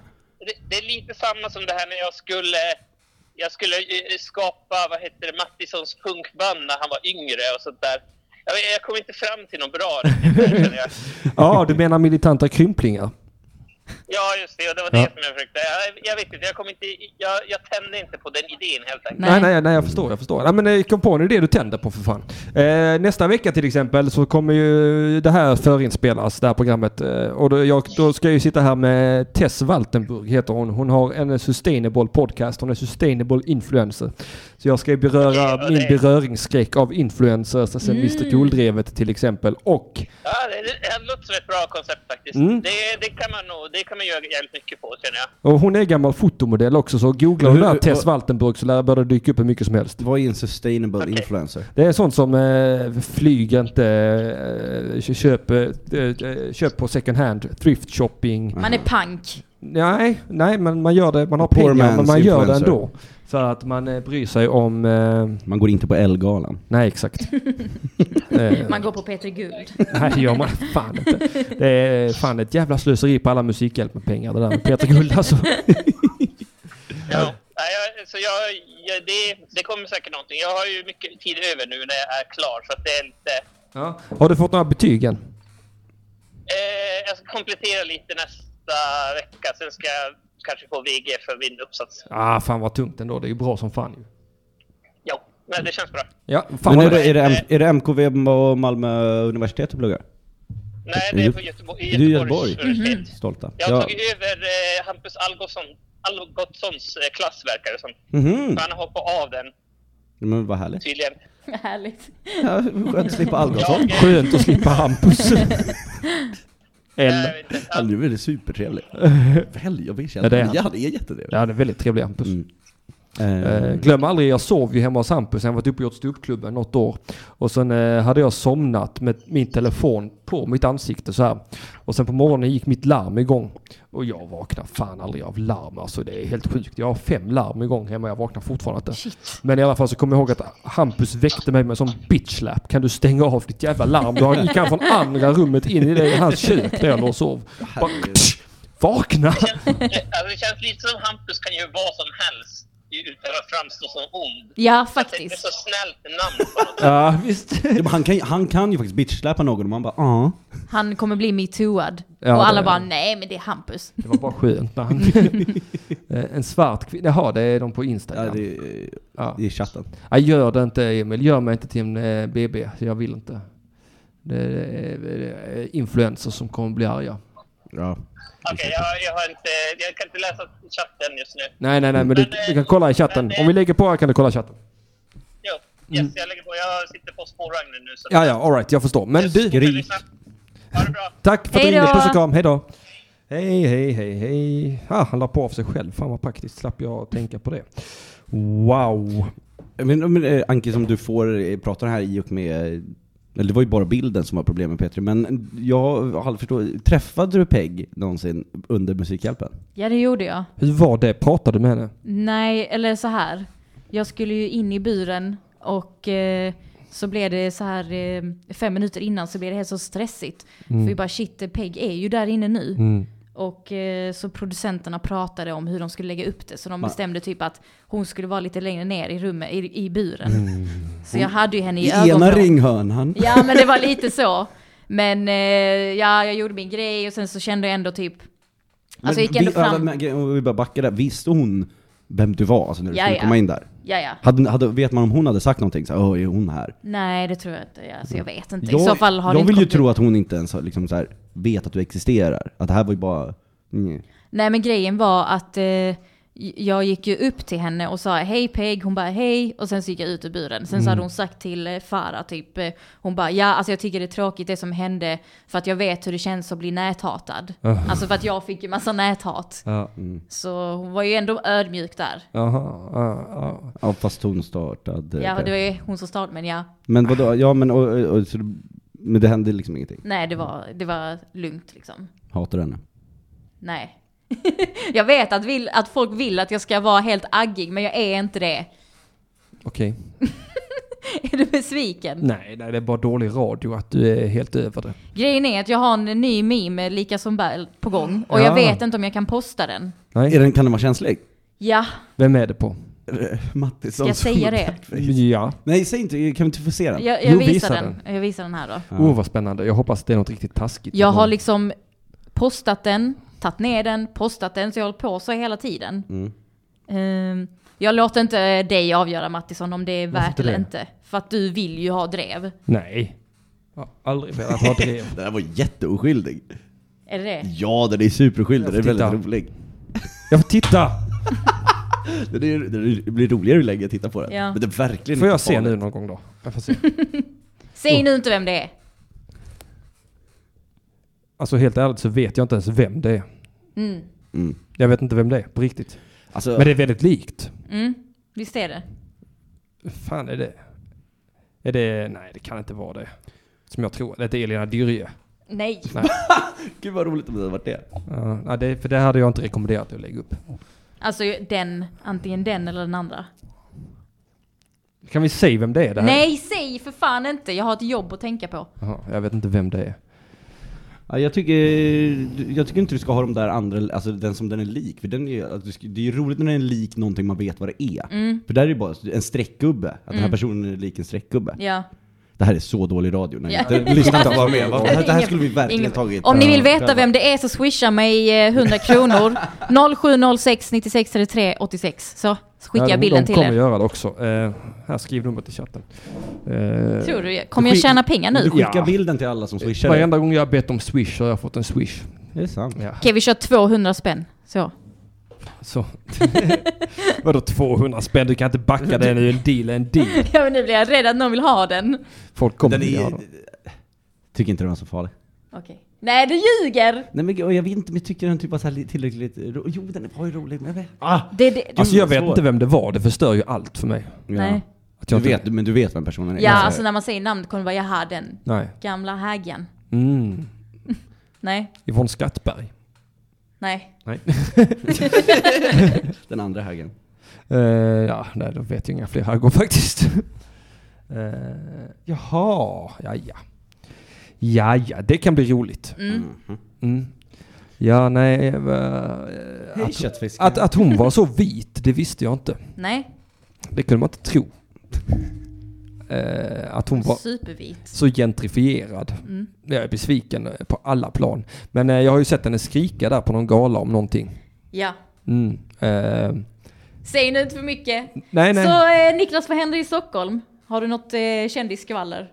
Det, det är lite samma som det här när jag skulle jag skulle eh, skapa, vad heter det, Mattissons punkband när han var yngre och sånt där. Jag, vet- jag kom inte fram till något bra riktigt där, känner jag. ja, du menar militanta krymplingar? Ja, just det. Och det var Ja. det som jag försökte. Jag, jag vet inte, jag, kom inte jag, jag tände inte på den idén helt enkelt. Nej. Nej, nej, nej, jag förstår. Jag förstår. Nej, men eh, kom på nu det du tänder på för fan. Eh, nästa vecka till exempel så kommer ju det här förinspelas, det här programmet. Eh, och då, jag, då ska jag ju sitta här med Tess Waltenburg, heter hon. Hon har en sustainable podcast, hon är sustainable influencer. Så jag ska ju beröra Okej, och min det- beröringsskräck av influencers, alltså Mr Cool-drevet till exempel. Och Ja, det, det, det låter som ett bra koncept faktiskt. Mm. Det, det kan man nog, det kan man göra jävligt mycket på känner jag. Och hon är gammal fotomodell också, så googlar Men du hur- där hur- Tess Waltenburg så lär det börja dyka upp hur mycket som helst. Vad är en sustainable influencer? Det är sånt som eh, flyg inte, eh, köp, eh, eh, köp på second hand, thrift shopping. Man är punk. Nej, nej men man gör det, man har Poor pengar men man's man gör det influencer. ändå. För att man eh, bryr sig om... Eh, Man går inte på Elgalan. nej exakt. eh, Man går på Peter Guld. nej gör man fan inte. Det är fan ett jävla slöseri på alla Musikhjälpen-pengar det där med Peter Guld alltså. Ja. Nej, jag, så jag, jag, det, det kommer säkert någonting. Jag har ju mycket tid över nu när jag är klar så att det är lite... Ja. Har du fått några betyg än? Eh, jag ska komplettera lite nästa vecka. Sen ska jag kanske få VG för min uppsats. Ah, fan vad tungt ändå, det är ju bra som fan ju. Ja, men det känns bra. Ja, fan Men vad är det, är, det, M- är det MKV och Malmö universitet du pluggar? Nej, Är det är du- på Göteborg, är du i i Göteborg? Göteborgs universitet. Stolta. Jag har Ja. tagit över eh, Hampus Algotsson, Algotssons eh, klass verkar det som. Hmm. Mhm. Han har hoppat av den Men vad härligt. tydligen. Härligt. Ja, skönt att slippa Algotsson. Jag, eh, Skönt att slippa Hampus. jag Eller? vet inte. Ja, nu är det supertrevligt. Väl, jag vill känna Ja, det är det. han. Ja, det är jättetrevligt. Ja, han är väldigt trevlig Hampus. Mm. Eh, Eh, glöm aldrig, jag sov ju hemma hos Hampus. Han var uppe och gjort ståuppklubben något år. Och sen eh, hade jag somnat med min telefon på mitt ansikte så här. Och sen på morgonen gick mitt larm igång. Och jag vaknar fan aldrig av larm. Alltså det är helt sjukt. Jag har fem larm igång hemma. Jag vaknar fortfarande inte. Shit. Men i alla fall så kommer jag ihåg att Hampus väckte mig med en sån bitchlap. Kan du stänga av ditt jävla larm? Då gick han från andra rummet in i det, hans kök där jag låg och sov. Bara, vakna! Det- Alltså, det känns lite som Hampus kan göra vad som helst utan att framstå som ond. Ja, Det är faktiskt. så snällt namn på något. Ja, visst. ja, men han, kan, ju- han kan ju faktiskt bitchsläpa någon och man bara "Ah." ja. Han kommer bli metooad. Ja, och alla det- bara, nej men det är Hampus. Det var bara skönt när han... Eh, en svart kvinna. Jaha, det är de på Instagram. Ja, Ja, det, är- Ja. det är chatten. Nej, gör det inte Emil. Gör mig inte till en eh, BB. Jag vill inte. Det är, det är influencers som kommer bli arga. Ja. Okej, jag, jag, har inte, jag kan inte läsa chatten just nu. Nej, nej, nej, men du, du kan kolla i chatten. Om vi lägger på här kan du kolla i chatten. Jo, yes, Mm. jag lägger på. Jag sitter på spårvagnen nu. Så Ja, ja, alright, jag förstår. Men du, Ha det bra. tack för att du Hej då. ringde. Puss och kram, hejdå. Hej, hej, hej, hej. Ah, han la på av sig själv. Fan vad praktiskt. Slapp jag tänka på det. Wow. Men, men eh, Anki, som du får eh, prata här i och med, eh, eller det var ju bara bilden som var problemet Petri, men jag har aldrig förstått, träffade du Peg någonsin under Musikhjälpen? Ja, det gjorde jag. Hur var det? Pratade du med henne? Nej, eller så här. Jag skulle ju in i buren och eh, så blev det så här eh, fem minuter innan så blev det helt så stressigt. Mm. För vi bara shit, eh, Peg är ju där inne nu. Och eh, så producenterna pratade om hur de skulle lägga upp det. Så de bestämde typ att hon skulle vara lite längre ner i rummet, i, i buren. Så jag hade ju henne i, Mm. Alltså, I ena ögonvrån. ringhörnan. Ja, men det var lite så. Men eh, ja, jag gjorde min grej och sen så kände jag ändå typ... Alltså jag gick ändå vi, ja, fram... men, gre- om vi bara backar där, visste hon vem du var alltså, när du Ja, skulle ja. komma in där? Ja, ja. Hade, hade, vet man om hon hade sagt någonting så här, "Åh, är hon här? Nej, det tror jag inte. Alltså, jag vet inte. I så fall har det jag inte vill ju kommit tro ut. att hon inte ens har liksom så här, vet att du existerar. Att det här var ju bara... Mm. Nej, men grejen var att eh, jag gick ju upp till henne och sa hej Peg, hon bara hej och sen så gick jag ut ur buren. Sen så hade hon sagt till eh, Farah typ, eh, hon bara ja alltså jag tycker det är tråkigt det som hände för att jag vet hur det känns att bli näthatad. Alltså för att jag fick ju massa näthat. Ja. Så hon var ju ändå ödmjuk där. Aha, ja, ja. Ja, fast hon startade... Ja, det var ju hon som startade men ja, Men vadå, ja men, och, och, och, så, det- men det hände liksom ingenting? nej det var, det var lugnt liksom. Hatar henne. Nej. jag vet att, vill, att folk vill att jag ska vara helt aggig men jag är inte det. Okej. Är du besviken? Nej, nej, det är bara dålig radio att du är helt över det. Grejen är att jag har en ny meme, Lika som bär, på gång. Och Ja. jag vet inte om jag kan posta den. Nej. Är den, kan den vara känslig? Ja, Vem är det på? Mattis ska jag säga det? Ja. Nej, säg inte, kan vi inte få se den? Jag, Jo, jag visar visa den. Jag visar den här då. Oh, vad spännande. Jag hoppas det är något riktigt taskigt. Jag har liksom postat den, tagit ner den, postat den. Så jag har hållit på så hela tiden. Mm. Ehm, jag låter inte dig avgöra Mattisson om det är Varför värt inte eller det? inte. För att du vill ju ha drev. Nej. Jag har aldrig velat ha drev. Den här var jätteoskyldig. Är det Mm. det? Ja, den är superoskyldig, den är Jag får väldigt titta. rolig. Jag får titta! Den, är, den är, det blir roligare ju längre jag tittar på den. Ja. Men den är verkligen Får inte jag se farlig. nu någon gång då? Jag får se. Oh. Säg nu inte vem det är. Alltså helt ärligt så vet jag inte ens vem det är. Mm. Jag vet inte vem det är på riktigt. Alltså, Men det är väldigt likt. Mm. Visst är det? fan är det? Är det... Nej, det kan inte vara det. Som jag tror. Det är Elina Dyrje. Nej. gud vad roligt om det hade varit det. Ja, nej, det, för det hade jag inte rekommenderat att lägga upp. Alltså den, antingen den eller den andra. Kan vi säga vem det är? Det här? Nej, säg för fan inte. Jag har ett jobb att tänka på. Jaha, jag vet inte vem det är. Ja, jag, tycker, jag tycker inte du ska ha de där andra, alltså den som den är lik. För den är, att du ska, det är ju roligt när den är lik någonting man vet vad det är. Mm. För där är det bara en streckgubbe, att den här personen är lik en streckgubbe. Ja. Typ Det här är så dålig radio. Nej, Ja. inte, lyssna inte vara med. Det här, det här skulle vi verkligen Ingen- tagit. Om ni vill Ja. veta vem det är så swisha mig eh, 100 kronor. 0706 96 33 86. Så skickar Ja, jag de- bilden de till kommer er. göra det också. Eh, här, skriv numret i chatten. Eh, Tror du? Kommer jag tjäna pengar nu? Du Okej, skickar bilden till alla som swishar dig. Varenda gång jag har bett om swish har jag fått en swish. Det är sant. Ja, vi kör 200 spänn. Så. så. Vadå 200 spänn? Du kan inte backa det nu. En deal är en deal. Ja, men nu blir jag rädd att någon vill ha den. Folk kommer Den vilja ha är, dem. tycker inte den var så farlig. Okej. Nej, du ljuger! Nej men jag vet inte om jag tycker den typ var så här tillräckligt ro- Jo den var ju rolig men jag vet. Ah, Det, det, Alltså jag vet svår. inte vem det var. Det förstör ju allt för mig. nej. Att Du jag vet, Inte, men du vet vem personen är? Ja, alltså när man säger namn kommer det vara jaha, den nej. gamla hägen. Mm. Nej, Yvonne Skattberg. nej. Nej. Den andra högen. Eh, ja, nej, då vet jag inga fler här går faktiskt. Eh, jaha, ja ja. Ja ja, det kan bli roligt. Mm. Ja, nej. eh, eh, Hej att, köttfisken. att, att hon var så vit, det visste jag inte. Nej. Det kunde man inte tro. Eh, att hon var Supervit. så gentrifierad. Mm. Jag är besviken eh, på alla plan. Men eh, jag har ju sett henne skrika där på någon gala om någonting. Ja. Mm. Eh, Säg nu inte för mycket. nej, nej. Så eh, Niklas, vad händer i Stockholm? Har du något eh, kändisskvaller?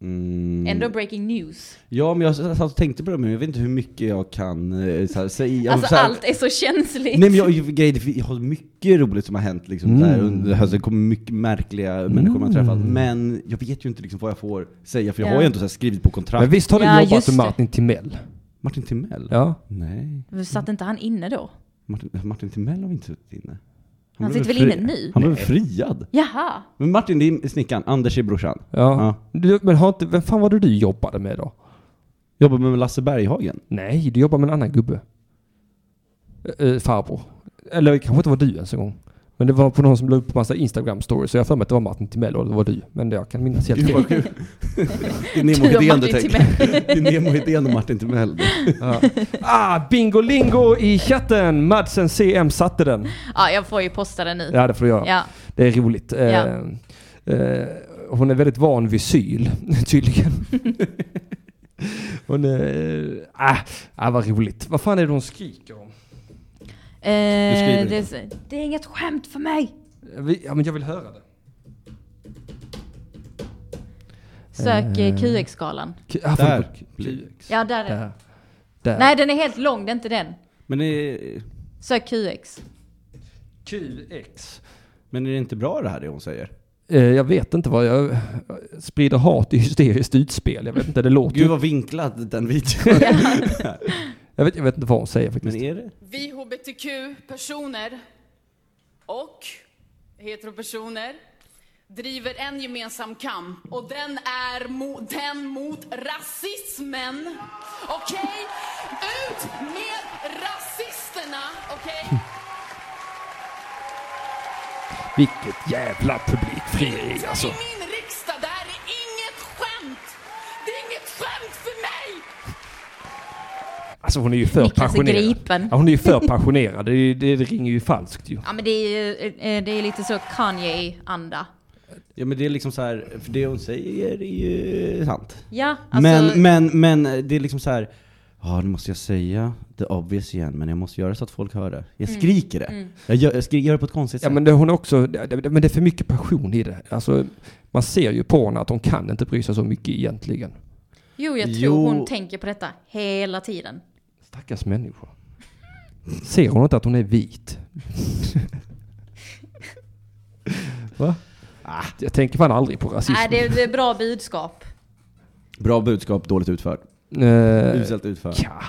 Mm. Ändå breaking news. Ja men jag satt och tänkte på det men jag vet inte hur mycket jag kan eh, så här, säga. alltså så här, allt är så känsligt. Nej men jag, grejen är, jag har mycket roligt som har hänt liksom, Mm. där under hösten. Det kommer mycket märkliga människor man har träffat. Men jag vet ju inte liksom, vad jag får säga för jag Ja. har ju inte så här, skrivit på kontrakt. Men visst har du Ja, jobbat just med det. Martin Timell? Martin Timell? Ja. Nej, Satt inte han inne då? Martin, Martin Timell har vi inte suttit inne. Han blev sitter väl fri- inne nu? Han blev friad. Jaha! Men Martin, det är snickaren. Anders är brorsan. Ja. Du, men har inte, vem fan var det du jobbade med då? Jobbar med Lasse Berghagen. Nej, du jobbar med en annan gubbe. Ä- Äh, farbror. Eller det kanske inte var du ens en gång. Men det var på någon som la upp massa Instagram-stories. Så jag har för mig att det var Martin Timell och det var du. Men det- jag kan minnas helt Gud fel. vad kul. Det är Du och Nemo Hedén du Martin tänker. Det är Nemo Hedén och Martin Timell. Ah, bingolingo i chatten! Madsen CM satte den. Ja, jag får ju posta den nu. Ja, det får du göra. Ja. Det är roligt. Eh, Ja. eh, hon är väldigt van vid syl, tydligen. hon är... Ah, ah, vad roligt. Vad fan är det hon skriker om? skriver Eh, inte. det, är, så- det är inget skämt för mig! Jag vill- Ja, men jag vill höra det. Sök eh, QX-skalan. K- ah, fan, Där. det var- QX. Ja, där är den. Där. Där. Nej, den är helt lång, det är inte den. Men är, Sök QX. QX. men är det inte bra det här det hon säger? Eh, jag vet inte vad jag... jag sprider hat i hysteriskt utspel. Jag vet inte, det låter... Gud vad vinklad den videon är. Jag, vet, jag vet inte vad hon säger Men faktiskt. är det? Vi hbtq-personer och heteropersoner driver en gemensam kamp och den är mo- den mot rasismen. Okej? Ut med rasisterna! Okej? Vilket jävla publikfrieri alltså. I min riksdag, det här är inget skämt! Det är inget skämt för mig! Alltså hon är ju för Niklas är passionerad. gripen. Ja, hon är ju för passionerad. Det, är ju- det ringer ju falskt ju. Ja, men det är ju eh, det är lite så Kanye-anda. Ja men det är liksom så här, för det hon säger är ju sant. Ja, alltså... Men, men, men det är liksom så här. Ja, nu måste jag säga the obvious igen, men jag måste göra så att folk hör det. Jag Mm. skriker det. Jag, gör, jag skriker jag gör det på ett konstigt Ja, sätt. men det, hon är också... Det, det, men det är för mycket passion i det. Alltså, man ser ju på henne att hon kan inte bry sig så mycket egentligen. Jo, jag tror Jo. hon tänker på detta hela tiden. Stackars människor. Ser hon inte att hon är vit? Va? Ah, jag tänker fan aldrig på rasism. Nej, det, är- det är bra budskap. Bra budskap, dåligt utfört. Eh, Uselt utfört. ja.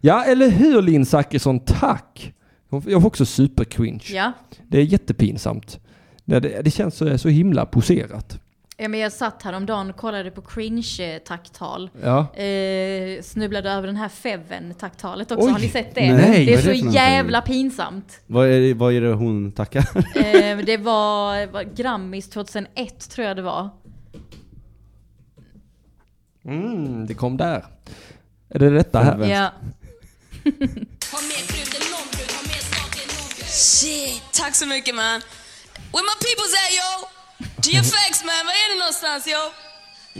ja, eller hur Linn Zachrisson? Tack! Hon- Jag var också supercringe. Ja. Det är jättepinsamt. Det, det, det känns så, så himla poserat. ja, men jag satt häromdagen och kollade på cringe-tacktal. Ja. Eh, snubblade över den här Feven-tacktalet också. Oj. Har ni sett det? Nej, det vad är är så det för någonting? jävla pinsamt. Vad, är det, vad är det hon tackar? Eh, det var, var Grammis 2001 tror jag det var. Mm, det kom där. Är det detta här? Ja. Ha mer krut än någon brud, ha mer smak än någon brud. Shit, tack så mycket man. Where my peoples at yo? GFX man, var är ni någonstans yo?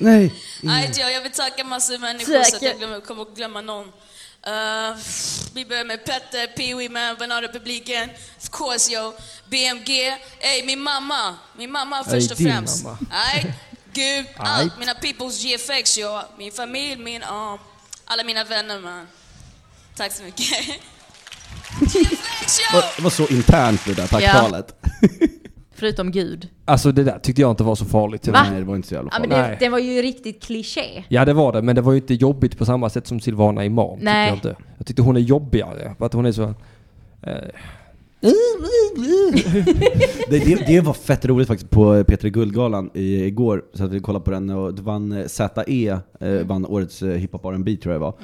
Nej! Alright yo, jag vill tacka massor av människor Tack. så att jag glömmer, kommer att glömma någon. Eh, vi börjar med Petter, Pee-Wee man, Bananrepubliken, of course yo, BMG, ey min mamma, min mamma först och din främst. mamma. Alright, Gud, Alright. allt, mina peoples, GFX yo, min familj, min, um, alla mina vänner man. Tack så mycket. GFX yo! Det var så internt det där tacktalet. Förutom Gud. Alltså det där tyckte jag inte var så farligt. Va? Nej, det var inte så jävla Ja, men farligt. Nej. det, det var ju riktigt kliché. Ja det var det, men det var ju inte jobbigt på samma sätt som Silvana Imam. tyckte Nej. Jag, inte. jag tyckte hon är jobbigare, för att hon är så... eh, Det, det, det var fett roligt faktiskt på P3 Guldgalan i, igår, så att vi kollade på den och det vann eh, ZE, eh, vann årets eh, hiphop R&B tror jag det var.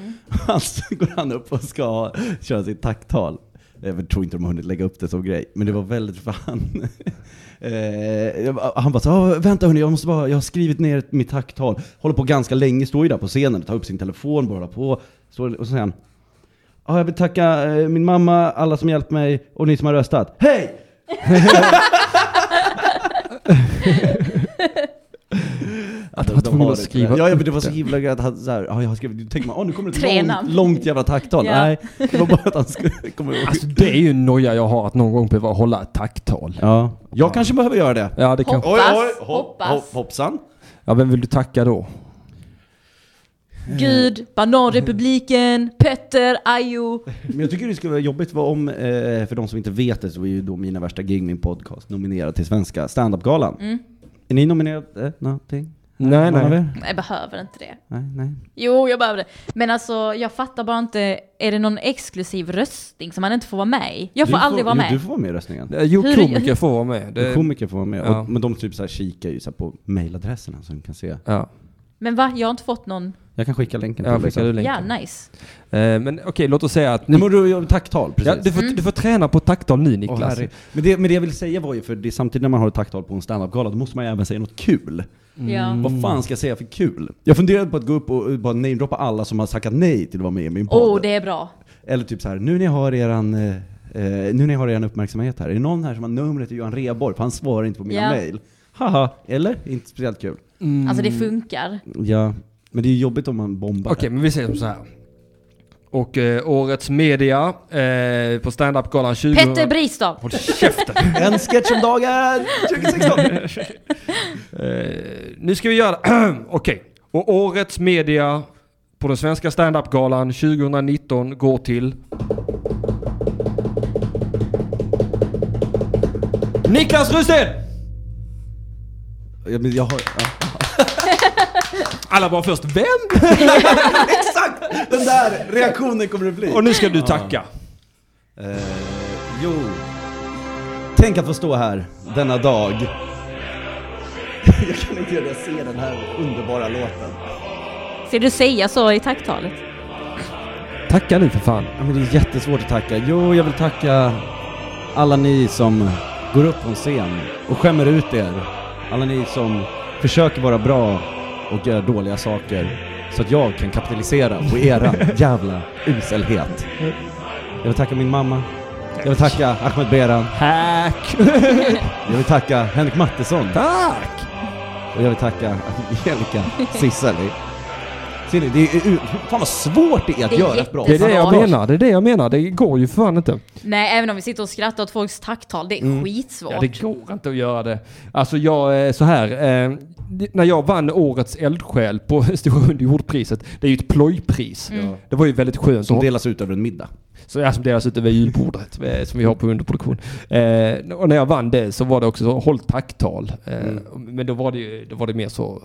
Alltså går han upp och ska ha- köra sitt tacktal. Eh, Jag tror inte de har hunnit lägga upp det som grej, men det var väldigt fan. Eh, jag bara- han bara så, "Ah, vänta hörni, jag, måste bara, jag har skrivit ner mitt tacktal. Håller på ganska länge, står ju där på scenen, tar upp sin telefon, bara håller på. Står, och så säger han, "Ja, jag vill tacka eh, min mamma, alla som hjälpt mig och ni som har röstat. Hej! Att han var tvungen att skriva Ja, ja, men upp det var så himla gött att han såhär, ja, jag har skrivit, tänk man, åh nu kommer Tre ett långt, namn. långt jävla tacktal. Ja. Nej, det var bara att han skulle komma ihåg. Alltså det är ju en noja jag har att någon gång behöva hålla ett tacktal. ja, jag kanske behöver göra det. Ja, det kan... Hoppas, hoppas. hoppsan. ja vem vill du tacka då? Gud, Mm. Bananrepubliken, Petter, Ayo. Men jag tycker det skulle vara jobbigt vad om, eh, för de som inte vet det så är ju då Mina Mm. Värsta Gig, min podcast, nominerad till Svenska standup-galan. Är ni nominerade? Någonting? Nej, Någon av nej. er? Jag behöver inte det. Nej, nej. Jo, jag behöver det. Men alltså, jag fattar bara inte. Är det någon exklusiv röstning som man inte får vara med i? Jag får Du aldrig vara jo, med. Du får vara med i röstningen. Eh, Jo, Hur- komiker får vara med. Det, Komiker får vara med. Ja. Och, men de typ så här kikar ju så här på mailadresserna så de kan se. ja, Men va? Jag har inte fått någon. Jag kan skicka länken till jag dig skickar du sen. länken. Ja, Mm. nice. Eh, Men okej, låt oss säga att... Nej men du gör tacktal, precis. Ja, du, får, du får träna på takttal nu Åh, Niklas. herre. men, det, men det jag vill säga var ju, för det är samtidigt när man har ett tacktal på en standup-gala, då måste man ju även säga något kul. Ja. Vad fan ska jag säga för kul? Jag funderade på att gå upp och eh, bara namedroppa alla som har tackat nej till att vara med i min podd. Oh, det är bra. Eller typ så här, nu när jag har eran, eh, eh, nu när jag har eran uppmärksamhet här, är det någon här som har numret till Johan Rheborg? För han svarar inte på mina Ja. mejl. Haha, eller? Inte speciellt kul. Alltså Mm. det funkar. Ja, men det är ju jobbigt om man bombar. Okej, men vi säger som så här. Och eh, årets media eh, på standup-galan 20... Petter Bristav! Håll käften! En sketch om dagen! 2016! Eh, nu ska vi göra Okej. Och årets media på den svenska standup-galan 2019 går till... Niklas Rusten! ja, men jag har, ja. Alla bara först vem? Exakt! Den där reaktionen kommer det bli. Och nu ska du tacka. Eh, jo. Tänk att få stå här denna dag. jag kan inte göra det, jag ser den här underbara låten. Ska du säga så i tacktalet? Tacka nu för fan. Ja, men det är jättesvårt att tacka. Jo, jag vill tacka alla ni som går upp på en scen och skämmer ut er. Alla ni som försöker vara bra och gör dåliga saker så att jag kan kapitalisera på era jävla uselhet. Jag vill tacka min mamma. Jag vill tacka Ahmed Beran. Tack! Jag vill tacka Henrik Mattisson. Tack! Och jag vill tacka Angelica Cisseli. Ser ni, det är, u- fan vad svårt det är att Det är göra ett bra Det är det jag Fan, Lars. menar, det är det jag menar. Det går ju fan inte. Nej, även om vi sitter och skrattar åt folks tacktal, det är Mm. skitsvårt. Ja, det går inte att göra det. Alltså jag, eh, så här. Eh, det- när jag vann årets eldsjäl på Stora Hund i jordpriset, det är ju ett plojpris. Det var ju väldigt skönt. Som att- delas ut över en middag. så, ja, som delas ut över julbordet eh, som vi har på underproduktion. Eh, och när jag vann det så var det också så, håll tacktal. Eh, Men då var det ju, då var det mer så,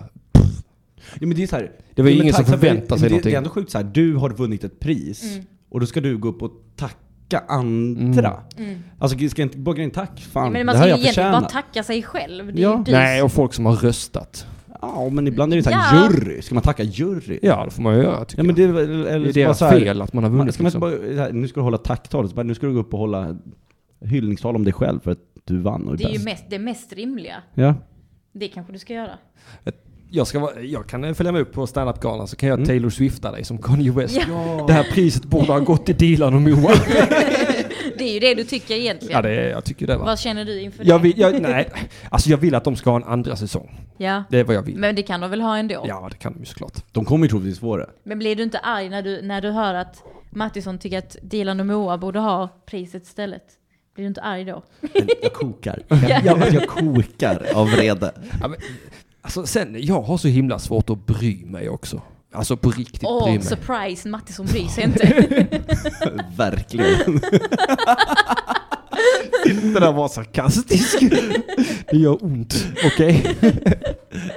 Ja, men det, är så här, Det var ju Ja, men ingen tack- som tack för- förväntade sig det, någonting. Det är ändå sjukt så här, du har vunnit ett pris Mm. och då ska du gå upp och tacka andra. Mm. Alltså ska jag inte bara gå in tack? Fan, Mm. men det man här ska har ju jag egentligen bara förtjänat. tacka sig själv. Det är Ja. ju du. nej, och folk som har röstat. Ja, men ibland är det så här, Ja. jury. Ska man tacka jury? Ja, det får man ju göra tycker Ja, men det, är väl- eller, jag. Det bara är deras så här, fel att man har Man, vunnit. ska man inte liksom. bara, så här, nu ska du hålla tacktalet, så bara, nu ska du gå upp och hålla hyllningstal om dig själv för att du vann och är Det är ju bäst. mest, det mest rimliga. Ja. Det kanske du ska göra. Jag, ska vara, jag kan eh, följa med upp på standup-galan så kan jag Taylor Swifta dig som Kanye West. Det här priset borde ha gått till Dilan och Moa. Det är ju det du tycker egentligen. ja, det, är- jag tycker det va. Vad känner du inför Jag det? vill, jag, nej, alltså jag vill att de ska ha en andra säsong. Ja. Det är vad jag vill. Men det kan de väl ha ändå? Ja, det kan de ju såklart. De kommer ju troligtvis få det. Men blir du inte arg när du, när du hör att Mattisson tycker att Dilan och Moa borde ha priset istället? Blir du inte arg då? Typ Jag kokar. Jag, jag, jag kokar av vrede. Ja, men, alltså sen, jag har så himla svårt att bry mig också. Alltså på riktigt Åh, bry mig. surprise! Mattisson bryr sig inte. Verkligen. Det där var sarkastisk. det gör ont. Okej?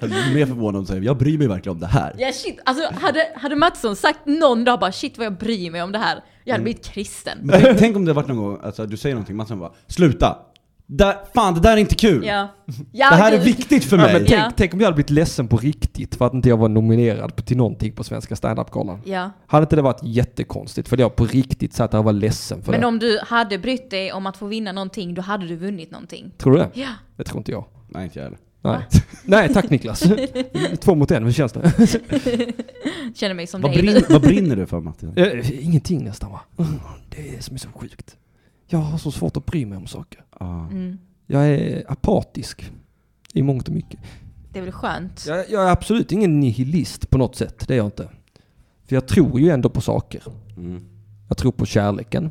Jag blir mer förvånad om du säger, jag bryr mig verkligen om det här. Ja shit, alltså hade, hade Mattisson sagt någon dag bara shit vad jag bryr mig om det här. Mm. Jag hade blivit kristen. Men tänk, tänk om det varit någon gång, alltså du säger någonting, Matsen bara Sluta! Där, fan det där är inte kul! Ja. ja Det här är du- viktigt för Ja, men mig! tänk, Ja. tänk om jag hade blivit ledsen på riktigt för att inte jag var nominerad på- till någonting på Svenska standup-galan. Ja. Hade inte det varit jättekonstigt? För jag på riktigt satt där och var ledsen för Men det. om du hade brytt dig om att få vinna någonting, då hade du vunnit någonting. Tror du det? Ja. Det tror inte jag. Nej inte jag heller. Nej. Nej, tack Niklas. Två mot en, hur känns det? Känner mig som Vad, dig. brin, vad brinner du för Mattias? Mm. Eh, Ingenting nästan va? Mm, Det är det som är så sjukt. Jag har så svårt att bry mig om saker. Ah, Jag är apatisk i mångt och mycket. Det är väl skönt? Jag, jag är absolut ingen nihilist på något sätt, det är jag inte. För jag tror ju ändå på saker. Jag tror på kärleken.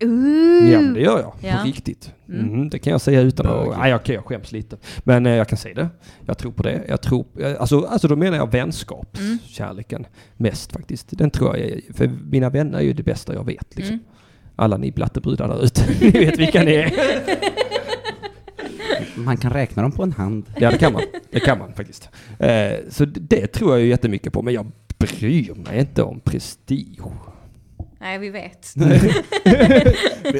Ooh. Ja, men det gör jag. Ja. På riktigt. Mm, det kan jag säga utan att... Nej, okej, jag skäms lite. Men eh, jag kan säga det. Jag tror på det. Jag tror, eh, alltså, alltså då menar jag vänskapskärleken mest faktiskt. Den tror jag är, För mina vänner är ju det bästa jag vet. Liksom. Alla ni blattebrudar där ute, ni vet vilka ni är. Man kan räkna dem på en hand. Ja, det kan man. Det kan man faktiskt. Eh, så det- det tror jag ju jättemycket på, men jag bryr mig inte om prestige. Nej, vi vet.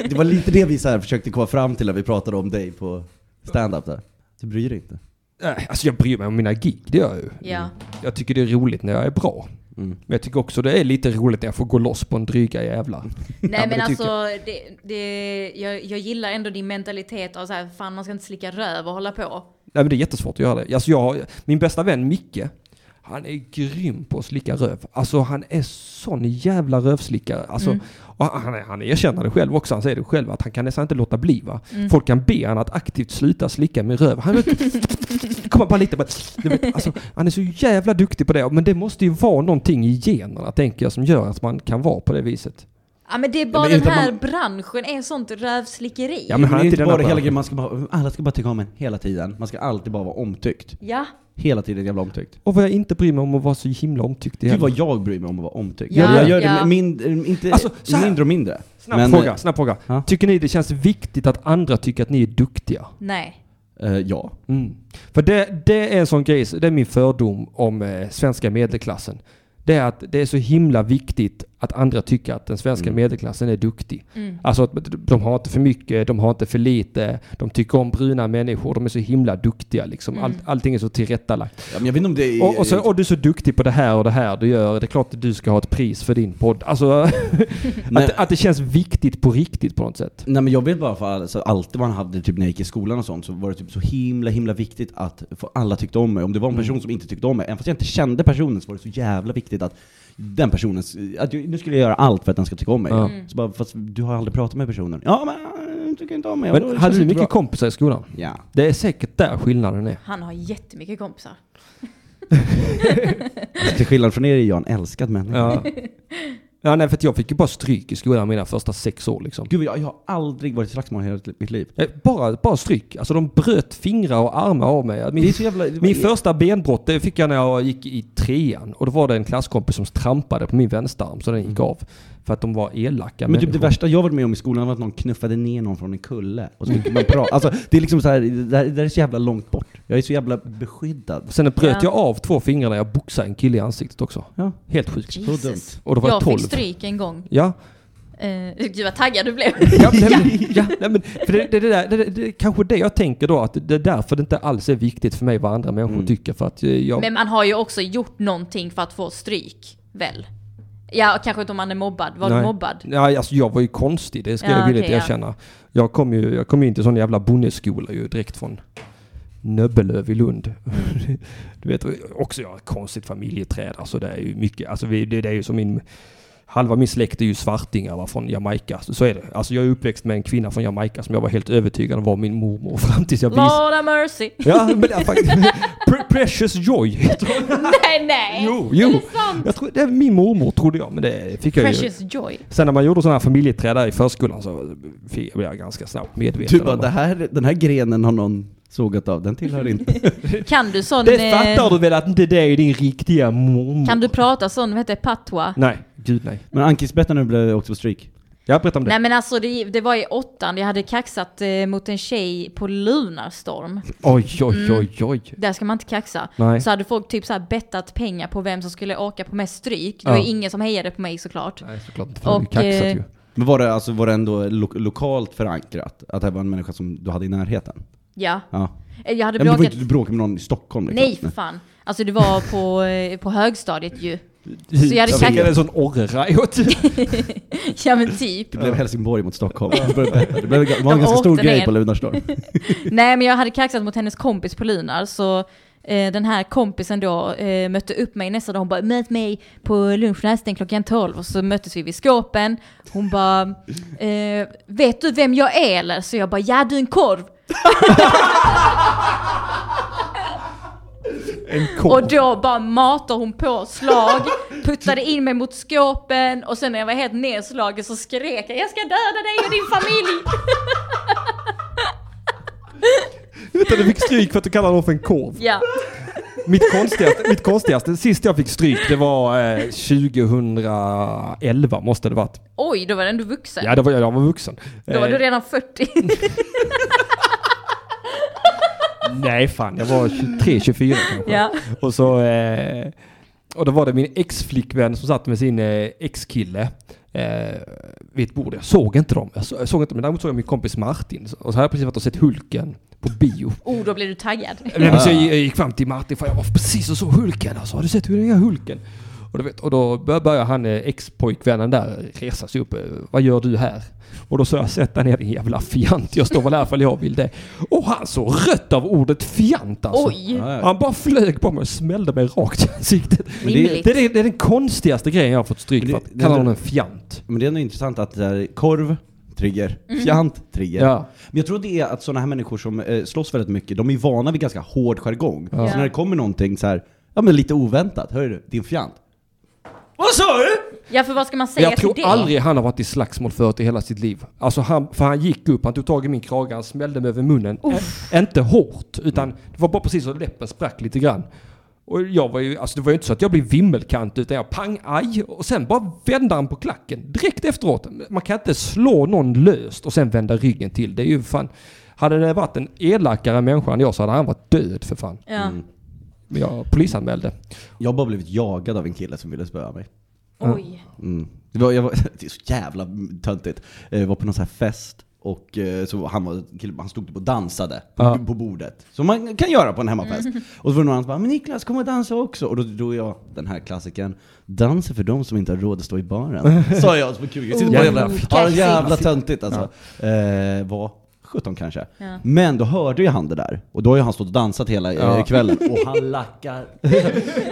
Det var lite det vi så här försökte komma fram till när vi pratade om dig på stand-up där. Du bryr dig inte. Eh, alltså jag bryr mig om mina gig, det gör jag ju. Ja. Jag tycker det är roligt när jag är bra. Men jag tycker också det är lite roligt när jag får gå loss på en dryga jävla. det Nej men, tycker jag. alltså, det, det, jag, jag gillar ändå din mentalitet av så här, fan man ska inte slicka röv och hålla på. Nej men det är jättesvårt att göra det. Alltså jag, har- min bästa vän Micke, han är grym på att slicka röv. Alltså han är sån jävla rövslickare. Alltså, och han, är- han erkänner det själv också, han säger det själv att han kan nästan inte låta bli va. Folk kan be han att aktivt sluta slicka med röv. Han kommer bara lite, bara, du vet, alltså, han är så jävla duktig på det. Men det måste ju vara någonting i generna tänker jag som gör att man kan vara på det viset. Ja men det är bara men den utan här branschen är sånt rövslickeri. Ja, men han är det är inte inte den bara här hela branschen. grejen, man ska bara, alla ska bara tycka om en hela tiden. Man ska alltid bara vara omtyckt. Ja. Hela tiden jävla omtyckt. Och vad jag inte bryr mig om att vara så himla omtyckt i Gud heller. vad jag bryr mig om att vara omtyckt. Ja, jag gör ja. det mindre, inte Alltså, så här. mindre och mindre. Snabb Men, eh, fråga, snabb fråga. Ja. Tycker ni det känns viktigt att andra tycker att ni är duktiga? Nej. eh, ja. Mm. För det, det är en sån grej, så det är min fördom om eh, svenska medelklassen. Det är att det är så himla viktigt att andra tycker att den Mm. svenska medelklassen är duktig. Alltså att de har inte för mycket, de har inte för lite, de tycker om bruna människor, de är så himla duktiga liksom. Allt, allting är så tillrättalagt. ja men jag vet inte om det är... Och, och, så, och du är så duktig på det här och det här du gör, det är klart att du ska ha ett pris för din podd. Alltså Nej. att, att det känns viktigt på riktigt på något sätt. Nej men jag vet bara för alla- så alltid man hade, typ när jag gick i skolan och sånt, så var det typ så himla himla viktigt att få- alla tyckte om mig. Om det var en Mm. person som inte tyckte om mig, även fast jag inte kände personen, så var det så jävla viktigt att den personen, s- att jag, nu skulle jag göra allt för att den ska tycka om mig. Ja. Så bara, fast du har aldrig pratat med personen. Ja men, äh, tycker inte om mig. Och Men då hade känns du det mycket bra. kompisar i skolan? Ja. Det är säkert där skillnaden är. Han har jättemycket kompisar. Alltså, Till skillnad från er är jag en älskad människa. Ja. ja, nej för att jag fick ju bara stryk i skolan mina första sex år liksom. Gud, jag, jag har aldrig varit i slagsmål i hela mitt liv. Eh, Bara, bara stryk. Alltså de bröt fingrar och armar av mig. Det är Min, så jävla... det- min första benbrott det fick jag när jag gick i trean. Och då var det en klasskompis som trampade på min vänsterarm så den gick av. För att de var elaka Mm. Men typ det människor. värsta jag varit med om i skolan var att någon knuffade ner någon från en kulle. Och så fick man prata. Alltså, det är liksom så här, det där, det där är så jävla långt bort. Jag är så jävla beskyddad. Sen bröt Ja. jag av två fingrar när jag boxade en kille i ansiktet också. Ja. Helt sjukt. Jesus. Och då var jag Jag 12. fick stryk en gång. Ja, Uh, gud vad taggad du blev. Ja, nej, men, ja, nej, men, för det, det, det, där, det, det, det är kanske det jag tänker då, att det är därför det inte alls är viktigt för mig vad andra människor Mm. tycker. För att eh, jag, Men man har ju också gjort någonting för att få stryk, väl? Ja, kanske inte om man är mobbad. Var Nej. du mobbad? Nej, alltså jag var ju konstig, det ska Ja, jag villigt okej, ja. erkänna. Jag kom ju jag kom ju in till sån jävla bondeskola ju direkt från Nöbbelöv i Lund. Mm. du vet, också jag har ett konstigt familjeträd, alltså det är ju mycket, alltså vi, det, det är ju som min Halva min släkt är ju svartingar va, från Jamaica, så, så är det. Alltså jag är uppväxt med en kvinna från Jamaica som jag var helt övertygad om var min mormor fram tills jag visade... Lord have mercy. Ja, men det är faktiskt... Pre- Precious Joy heter hon. nej, nej! Jo, jo. Jag tror, det är min mormor trodde jag, men det fick jag ju. Precious joy. Sen när man gjorde sådana här familjeträd där i förskolan så fick blev jag ganska snabbt medveten Du Typ bara, om det här, den här grenen har någon sågat av, den tillhör inte. Kan du sån... det eh, fattar du väl att inte det är din riktiga mormor? Kan du prata sån, vad heter det, patwa? Nej, gud nej. Men Ankis, berätta nu blev jag också på stryk. Jag berättar om det. Nej men alltså det, det var i åttan, jag hade kaxat eh, mot en tjej på Lunarstorm. Oj, oj, Mm. oj, oj. Där ska man inte kaxa. Nej. Så hade folk typ så här bettat pengar på vem som skulle åka på mest stryk. Det Ja. var ju ingen som hejade på mig såklart. Nej, såklart inte. för det är ju Och, kaxat eh, ju. Men var det, alltså, var det ändå lo- lokalt förankrat? Att det här var en människa som du hade i närheten? Ja. Ja. Eh, Jag hade ja men du var bråkat... inte du bråkade med någon i Stockholm? liksom. Nej för fan. Alltså det var på, eh, på högstadiet ju. Så jag hade fick kaxat... en sån orrerajot. Ja men typ. Det blev Helsingborg mot Stockholm. Det blev- det blev- det var en De ganska stor åkte grej ner. på Lunarstorm. Nej men jag hade kaxat mot hennes kompis på Lunar så eh, den här kompisen då eh, mötte upp mig nästa dag. Hon bara möt mig på lunchrasten klockan 12 och så möttes vi vid skåpen. Hon bara eh, vet du vem jag är eller? Så jag bara ja du är en korv. Och då bara matar hon på slag, puttade in mig mot skåpen och sen när jag var helt nedslagen så skrek jag jag ska döda dig och din familj. Utan du fick stryk för att du kallade honom för en korv. Ja. Mitt konstigaste, mitt konstigaste, sist jag fick stryk, det var eh, 2011 måste det varit. Oj, då var den du vuxen. Eh, Ja, det var, jag var vuxen. Då var Eh, du redan 40. Nej fan, jag var 23, 24 kanske. Ja. Och så... Eh, och då var det min ex-flickvän som satt med sin eh, ex-kille eh, vid ett bord. Jag såg inte dem. Jag, så, jag såg inte, men däremot såg jag min kompis Martin. Och så hade jag precis varit och sett Hulken på bio. Oh, då blir du taggad. Nej, men så Ah. jag, jag gick fram till Martin för jag var precis och såg Hulken alltså. Har du sett hur den gör Hulken? Och, du vet, och då bör- börjar han, eh, ex-pojkvännen där, resa sig upp. eh, Vad gör du här? Och då sa jag, sätt dig ner din jävla fjant. Jag står väl här ifall jag vill det. Och han såg rött av ordet fjant alltså. Oj! Ja, ja. Han bara flög på mig och smällde mig rakt i ansiktet. Men Rimligt. Det är, det är den konstigaste grejen jag har fått stryk Men för. det- Att det- kalla honom en fjant. Men det är ändå intressant att det där är korv, trigger, fjant, trigger. Ja. Men jag tror det är att sådana här människor som eh, slåss väldigt mycket, de är ju vana vid ganska hård jargong. Ja. Så när det kommer någonting så här, ja men lite oväntat, hör du, din fjant. Vad sa du? Ja, för vad ska man säga Jag tror till det? aldrig han har varit i slagsmål förut i hela sitt liv. Alltså han, för han gick upp, han tog tag i min krage, han smällde mig över munnen. Ä, inte hårt, utan det var bara precis så läppen sprack lite grann. Och jag var ju, alltså det var ju inte så att jag blev vimmelkant utan jag pang, aj och sen bara vände han på klacken direkt efteråt. Man kan inte slå någon löst och sen vända ryggen till. Det är ju fan, hade det varit en elakare människa än jag så hade han varit död för fan. Ja. Mm. Men jag polisanmälde. Jag har bara blivit jagad av en kille som ville spöa mig. Oj. Mm. Det, var, jag var, det är så jävla töntigt. Eh, Jag var på någon sån här fest och eh, så han, var, kille- han stod typ och dansade på, Ja. Mm. på bordet. Som man kan göra på en hemmafest. Och så var det någon annan som bara 'Men Niklas, kom och dansa också' Och då drog jag den här klassikern 'Dansa för de som inte har råd att stå i baren' Sa jag som en kul grej. Sitter Oh, bara jävla- Ooh, Ja, kaxigt. jävla töntigt alltså. Eh, var 17 kanske. Ja. Men då hörde ju han det där. Och då har ju han stått och dansat hela eh, Ja. kvällen. Och han lackar.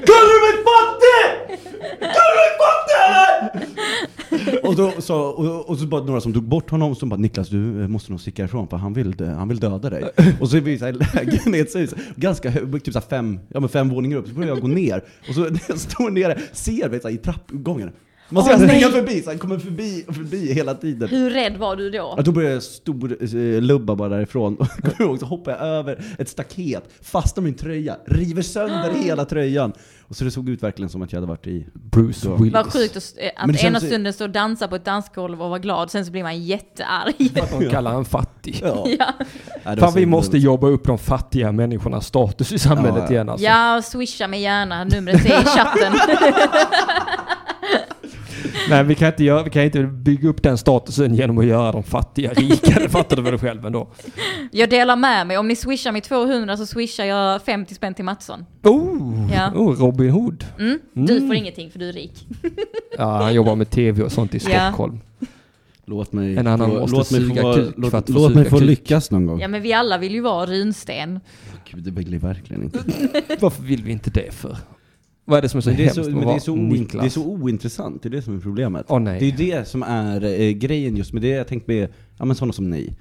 Kallar du mig fattig? Kallar du mig fattig eller? och, då, så, och, och så bara några som tog bort honom som bara Niklas du eh, måste nog sticka ifrån för han vill, dö- han vill döda dig. och så är vi i så här lägenhetshus, ganska hög, typ så här fem, ja, men fem våningar upp, så börjar jag gå ner. Och så när jag står nere ser vi så här, i trappgången. Man ser Åh, han springa nej. förbi, så han kommer förbi och förbi hela tiden. Hur rädd var du då? Ja, då började jag stor, eh, lubba bara därifrån. Och kommer jag ihåg, så hoppade jag över ett staket, fastnar min tröja, river Ah. sönder hela tröjan. Och så det såg ut verkligen som att jag hade varit i... Bruce Då. Willis. Vad sjukt att, eh, Men att det ena känns- stunden stå och dansa på ett dansgolv och vara glad, sen så blir man jättearg. Att de kallar han fattig. Ja. Ja, Nej, det var Fan så vi himla måste jobba upp de fattiga människornas status i samhället Ja, ja. igen alltså. ja swisha mig gärna, numret är i chatten. Nej vi kan, inte göra, vi kan inte bygga upp den statusen genom att göra de fattiga rika. Det fattar du väl själv ändå? Jag delar med mig, om ni swishar mig 200 så swishar jag 50 spänn till Mattsson. Oh, Ja. oh Robin Hood. Mm? Du får ingenting för du är rik. Ja, han jobbar med tv och sånt i Ja. Stockholm. Låt mig, En annan måste låt mig suga få, kuk låt, för att få låt suga mig få kuk. lyckas någon gång. Ja men vi alla vill ju vara runsten. Gud, det blir verkligen inte. Varför vill vi inte det för? Vad är det som är så Men det, är hemskt så, med men det, är så att vara oint- Niklas? det är så ointressant, det är det som är problemet. Åh, nej. Det är ju det som är eh, grejen just med det jag tänkt med, ja men sådana som ni.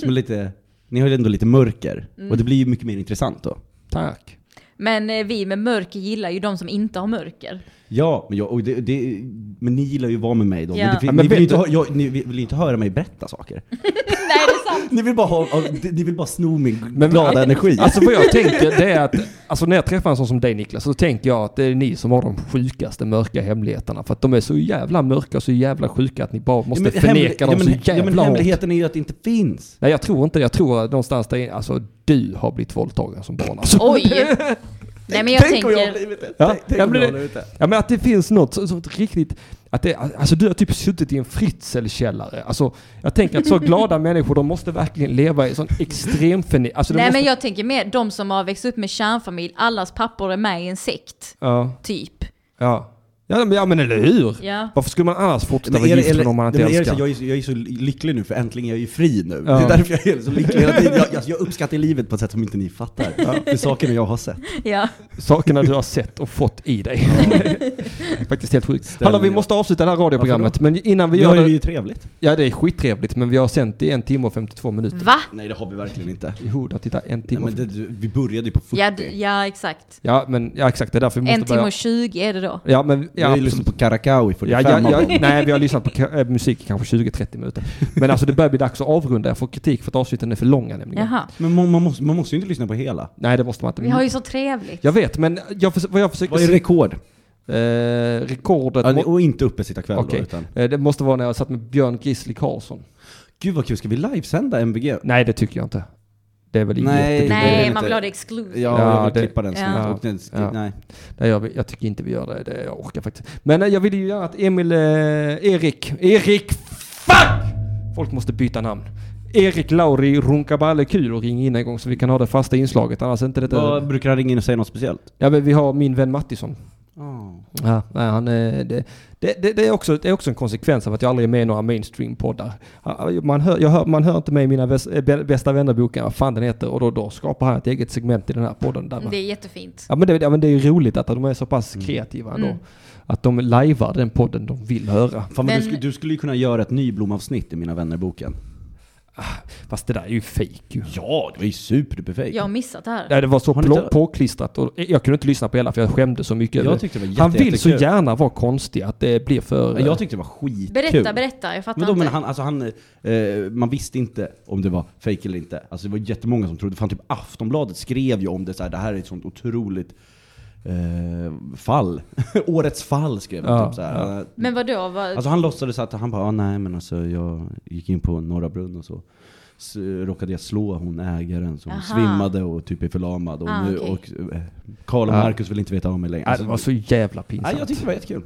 Som är lite, ni har ju ändå lite mörker. Och det blir ju mycket mer intressant då. Tack. Men eh, vi med mörker gillar ju de som inte har mörker. Ja, men, jag, och det, det, men ni gillar ju att vara med mig då. Ja. Men det, Ja, men ni, vill vet ju inte, du- hö- jag, ni vill vill ju inte höra mig berätta saker. Nej det är sant. Ni vill bara, ha, av- ni vill bara sno min Men- glada energi. Alltså vad jag tänker det är att, alltså när jag träffar en sån som dig Niklas så tänker jag att det är ni som har de sjukaste mörka hemligheterna. För att de är så jävla mörka och så jävla sjuka att ni bara måste Ja, men hemli- förneka ja, dem men- så ja, men jävla hårt. hemligheten är ju att det inte finns. Nej jag tror inte det. Jag tror att någonstans där inne, alltså du har blivit våldtagen som barn. Alltså. Oj! Nej men jag tänk om jag har tänker... blivit det. Ja, Tänk- tänk ja, om men jag har det- blivit det. Ja men att det finns något så- sånt riktigt, att det, alltså du har typ suttit i en fritzelkällare. Alltså jag tänker att så glada människor de måste verkligen leva i sån extrem förni- alltså, de Nej måste, men jag tänker mer de som har växt upp med kärnfamilj, allas pappor är med i en sekt. Ja, Typ. ja. Ja men, ja men eller hur? Ja. Varför skulle man annars fortsätta Men vara är det- gift med eller- någon man inte men är det så- älskar? Jag är, så- jag är så lycklig nu för äntligen är jag ju fri nu. Ja. Det är därför jag är så lycklig hela tiden. Jag, alltså, jag uppskattar livet på ett sätt som inte ni fattar. Det är sakerna jag har sett. Ja. Sakerna du har sett och fått i dig. Faktiskt helt sjukt. Stämmer. Hallå vi måste avsluta det här radioprogrammet men innan vi Vi gör har det, ju trevligt. ja det är skittrevligt men vi har sänt i en timme och 52 minuter. Va? Nej det har vi verkligen inte. Jo, då, titta en Nej, timme och men det, du- vi började ju på 40. Ja, d- ja exakt. Ja, men ja, exakt. Det är därför vi En måste timme börja. och tjugo är det då. Ja, men... Vi har Ja, ju lyssnat på Karakao i 45 ja, ja, av ja, dem. nej, vi har lyssnat på ka- eh, musik i kanske 20-30 minuter. Men alltså det börjar bli dags att avrunda. Jag får kritik för att avsnitten är för långa nämligen. Jaha. Men man, man, måste, man måste ju inte lyssna på hela. Nej, det måste man inte. Vi har ju så trevligt. Jag vet, men jag förs- vad jag försöker... Vad är rekord? Eh, rekordet... Ja, må- det- och inte uppe sitta kväll Okej. då, utan... Eh, det måste vara när jag satt med Björn Grizzly Karlsson. Gud vad kul, ska vi livesända MBG? Nej, det tycker jag inte. Det är väl Nej, jättedåligt. det är Nej, inte- man vill ha det exclusive. Ja, Ja, jag vill det- klippa den snabbt. ja. Och den, Ja. Nej. Nej, jag, vill- jag tycker inte vi gör det. det jag orkar faktiskt. Men eh, jag ville ju gärna att Emil... Eh, Erik... Erik... Fuck! Folk måste byta namn. Erik Lauri Runkaballe Kul och ring in en gång så vi kan ha det fasta inslaget. Annars är inte detta... Vad brukar han ringa in och säga något speciellt? Ja, men vi har min vän Mattisson. Ah. Ja, nej, han, eh, det, det, det, det, är också, det är också en konsekvens av att jag aldrig är med i några mainstream-poddar. Ja, Man hör, jag hör, man hör inte med i mina väs- eh, bä- bästa vännerboken, vad fan den heter, och då, då skapar han ett eget segment i den här podden. Där man, Det är jättefint. ja, men det, ja, men det är ju roligt att de är så pass Mm. kreativa ändå. Att de lajvar den podden de vill höra. Fan, men... Men- du, skulle, du skulle ju kunna göra ett nyblomavsnitt i Mina vännerboken. Fast det där är ju fejk ju. Ja, det var ju superduperfejk. Jag har missat det här. Nej, det var så Har ni plå- inte- påklistrat och jag kunde inte lyssna på hela för jag skämde så mycket. Jag över- tyckte det var han jätte- vill så jättekul. gärna vara konstig att det blir för... Men Jag tyckte det var skitkul. Berätta, berätta. Jag fattar Men då, inte. men han, alltså han, eh, man visste inte om det var fake eller inte. Alltså det var jättemånga som trodde, fan typ Aftonbladet skrev ju om det så här, det här är ett sånt otroligt eh, fall. Årets fall skrev de Ja, typ så här. Men vadå? Vad... Alltså han låtsades att han bara, ah, nej men alltså jag gick in på Norra Brunn och så s- råkade jag slå hon ägaren så hon Aha. svimmade och typ är förlamad. Och, Ah, nu, okej. och eh, Karl och Ja. Marcus vill inte veta om mig längre. Alltså, Nej, det var så jävla pinsamt. nej, jag tyckte det var jättekul.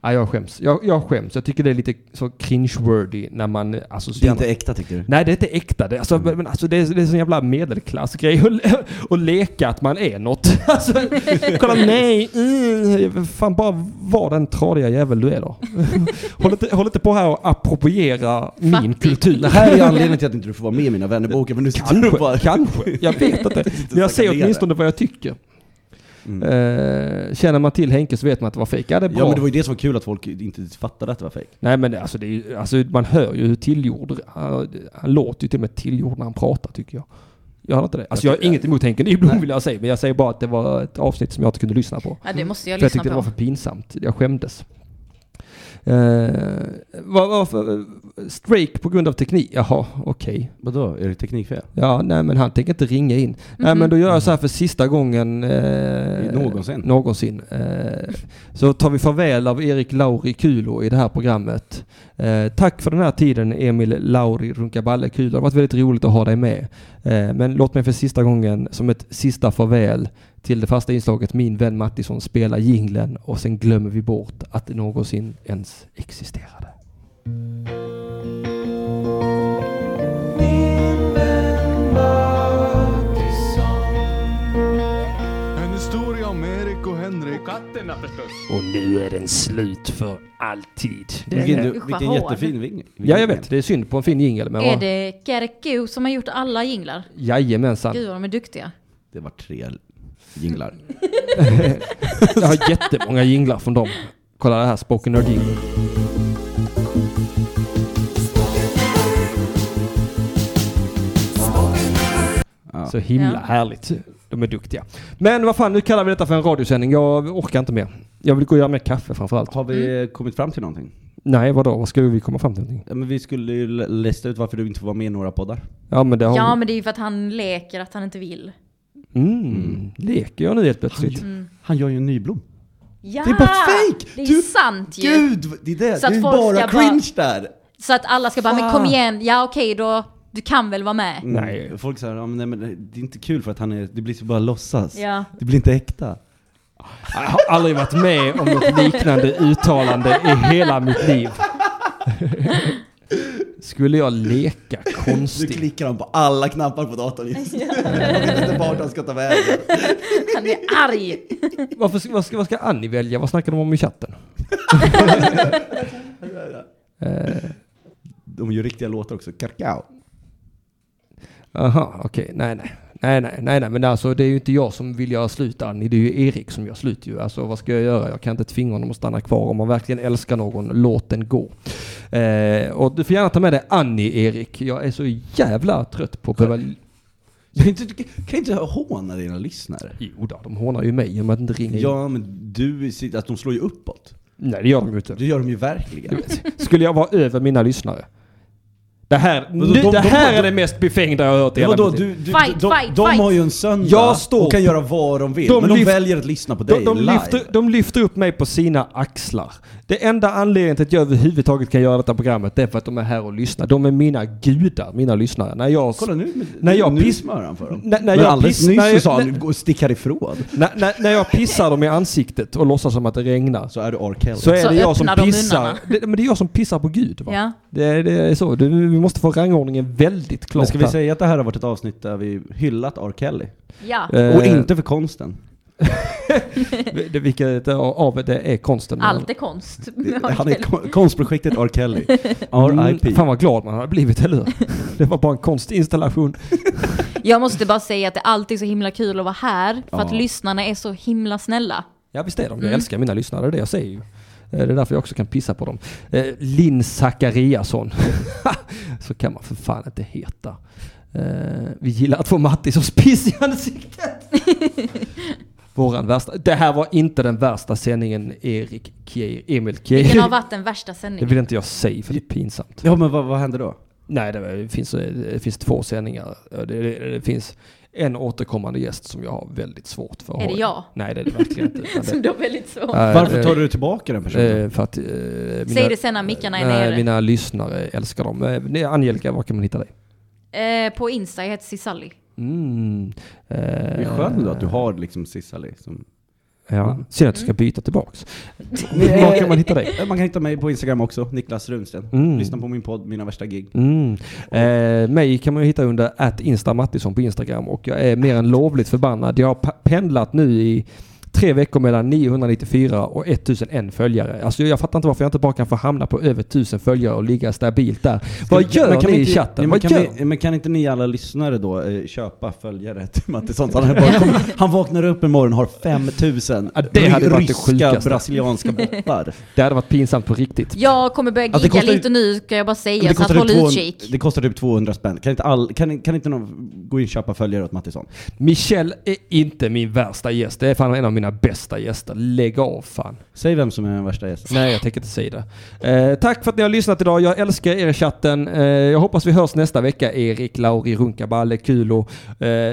Ja, jag skäms. Jag, jag skäms. Jag tycker det är lite så cringe-worthy när man Det är associerar... inte äkta tycker du? Nej, det är inte äkta. Det, alltså, men, alltså, det, är, det är sån jävla medelklassgrej att le- att leka att man är något. Alltså, kolla, nej, mm, fan bara var den tradiga jävel du är då. Håll inte, håll inte på här och appropriera min Fattig. kultur. Det här är anledningen till att inte du får vara med i Mina vännerboken, men nu sitter du bara... Kanske, jag vet inte. Men jag säger åtminstone vad jag tycker. Eh, känner man till Henke så vet man att det var fejk. Ja, det är bra. Mm. Ja men det var ju det som var kul, att folk inte fattade att det var fejk. Nej men det- alltså, det är ju, alltså man hör ju hur tillgjord, han, han låter ju till och med tillgjord när han pratar tycker jag. Jag hör inte det. Alltså jag har inget emot Henke Nyblom vill jag säga, men jag säger bara att det var ett avsnitt som jag inte kunde lyssna på. Ja, det måste jag för jag lyssna tyckte det var på. för pinsamt, jag skämdes. Eh, vad var för, strejk på grund av teknik? Jaha, okej. Vadå? Är det teknikfel? Ja, nej men han tänker inte ringa in. Nej men då gör jag så här för sista gången. Eh, Någonsin. någonsin. Eh, så tar vi farväl av Erik Lauri Kulo i det här programmet. Eh, tack för den här tiden Emil Lauri Runkaballe Kulo. Det har varit väldigt roligt att ha dig med. Eh, men låt mig för sista gången som ett sista farväl till det fasta inslaget Min vän Mattisson spelar jinglen och sen glömmer vi bort att det någonsin ens existerade. En historia om Erik och Henrik. Och nu är den slut för alltid. Vilken, du, Usch, vad vilken hård. jättefin ving. Ja, jag vet. Det är synd på en fin jingel. Men Är vad- det Kerku som har gjort alla jinglar? Jajamensan. Gud vad de är duktiga. Det var tre jinglar. Jag har jättemånga jinglar från dem. Kolla det här, Spoken Nerd jingle. Så himla Ja. härligt. De är duktiga. Men vad fan, nu kallar vi detta för en radiosändning. Jag orkar inte mer. Jag vill gå och göra mer kaffe framförallt. Har vi kommit fram till någonting? Nej, vadå? Vad ska vi komma fram till? någonting? Ja, men vi skulle ju l- lista ut varför du inte får vara med i några poddar. Ja, men det har Ja, vi. men det är ju för att han leker att han inte vill. Mm, leker jag nu helt plötsligt? Mm. Han gör ju en nyblom. Ja! Det är bara fake! Det är Du- sant ju! Gud! Det är det! Så att det är folk bara ska bara- cringe där! Så att alla ska bara, men kom Fan. igen, ja okej då, du kan väl vara med? Mm. Nej. Folk säger, ja, men, nej, men det är inte kul för att han är, det blir så bara låtsas. Ja. Det blir inte äkta. Jag har aldrig varit med om något liknande uttalande i hela mitt liv. Skulle jag leka Nu konstigt? klickar han på alla knappar på datorn just nu. Han vet inte vart han ska ta vägen. Han är arg! Varför, ska- vad, ska, vad ska Annie välja? Vad snackar de om i chatten? De gör riktiga låtar också. Kakao. Aha, okej. Nej, nej. Nej, nej, nej, nej, men alltså det är ju inte jag som vill göra slut Annie, det är ju Erik som gör slut ju. Alltså vad ska jag göra? Jag kan inte tvinga honom att stanna kvar. Om man verkligen älskar någon, låt den gå. Eh, och du får gärna ta med dig Annie, Erik. Jag är så jävla trött på att behöva... Du kan inte, du kan inte håna dina lyssnare. Jo då, de hånar ju mig genom att inte ringa in. Ja, men du, sitter- att de slår ju uppåt. Nej, det gör de ju inte. Det gör de ju verkligen. Skulle jag vara över mina lyssnare? Det här, nu, de- de- det de- här de- är det mest befängda jag har hört i Ja, hela vadå, mitt liv. du, du, Fight, de, fight, de fight. har ju en söndag Jag står- och kan göra vad de vill. De men de lyft- väljer att lyssna på dig De, de, live. lyfter, de lyfter upp mig på sina axlar. Det enda anledningen till att jag överhuvudtaget kan göra detta programmet det är för att de är här och lyssnar. De är mina gudar, mina lyssnare. När jag... Kolla nu, men- När jag nu piss- smör han för dem. När- när men jag alldeles piss- nyss när så jag- sa när- han gå och stick härifrån. När, när, när jag pissar dem i ansiktet och låtsas som att det regnar Så är du R. Kelly. så är Så det jag som öppnar de pissar. munnarna. Det, men det är jag som pissar på Gud. Va? Ja. Det, det är så. Du, vi måste få rangordningen väldigt klar. Men ska vi säga att det här har varit ett avsnitt där vi hyllat R. Kelly? Ja. Eh, Och inte för konsten. Vilket av det är konsten. Allt är konst. Han är kon- konstprojektet R. Kelly. Mm, R.I.P. fan vad glad man hade blivit, eller hur? Det var bara en konstinstallation. Jag måste bara säga att det alltid är så himla kul att vara här, för att Ja. lyssnarna är så himla snälla. Ja visst är de, jag älskar mina lyssnare, det är det jag säger ju. Eh, Det är därför jag också kan pissa på dem. Eh, Linn Zachariasson. Så kan man för fan inte heta. Eh, Vi gillar att få Mattis och piss i ansiktet. Våran värsta. Det här var inte den värsta sändningen Erik Kjeir, Emil Vilken har Kjeir. varit den värsta Det sändningen? vill inte jag säga för det är pinsamt. Ja men vad, vad hände då? Nej, det, var- det, finns, det finns två sändningar. Det, det, det finns en återkommande gäst som jag har väldigt svårt för. att Är det ha. jag? Nej, det är det verkligen inte. utan det- Som då är väldigt svår. Nej, Varför eh, tar du tillbaka den personen? Eh, för att, eh, mina, Säg det sen när mickarna är nej, nere. mina lyssnare älskar dem. Eh, nej, Angelica, var kan man hitta dig? Eh, på Insta, jag heter Cisalli. Mm. Eh, Det är skönt ändå att du har liksom Sissali som... Eh, Ja. Synd att du ska Mm. byta tillbaks. var kan man hitta dig? Eh, Man kan hitta mig på Instagram också, Niklas Runsten. Mm. Lyssna på min podd, Mina värsta gig. Mm. Eh, mig kan man ju hitta under att instamattisson på Instagram och jag är mer än lovligt förbannad. Jag har pa- pendlat nu i tre veckor mellan 994 och 1001 följare. Alltså jag fattar inte varför jag inte bara kan få hamna på över 1000 följare och ligga stabilt där. Vad gör Men ni kan i inte- chatten? Nej, men, Vad kan gör? ni, men kan inte ni alla lyssnare då eh, köpa följare till Mattisson? Han, är bara, kommer- han vaknar upp en morgon och har 5000 Ja, det hade varit det ryska, sjukaste. brasilianska bottar. Det hade varit pinsamt på riktigt. Jag kommer börja gigga Alltså, det kostar ju- lite nu, ska jag bara säga, så att typ håll 200 utkik. det kostar typ 200 spänn. Kan inte, all, kan, kan inte någon gå in och köpa följare åt Mattisson? Michel är inte min värsta gäst. Det är fan en av mina bästa gäster. Lägg av fan. Säg vem som är den värsta gästen. Nej, jag tänker inte säga det. Eh, tack för att ni har lyssnat idag. Jag älskar er i chatten. Eh, jag hoppas vi hörs nästa vecka. Erik, Lauri, Runkaballe, Kulo. Eh,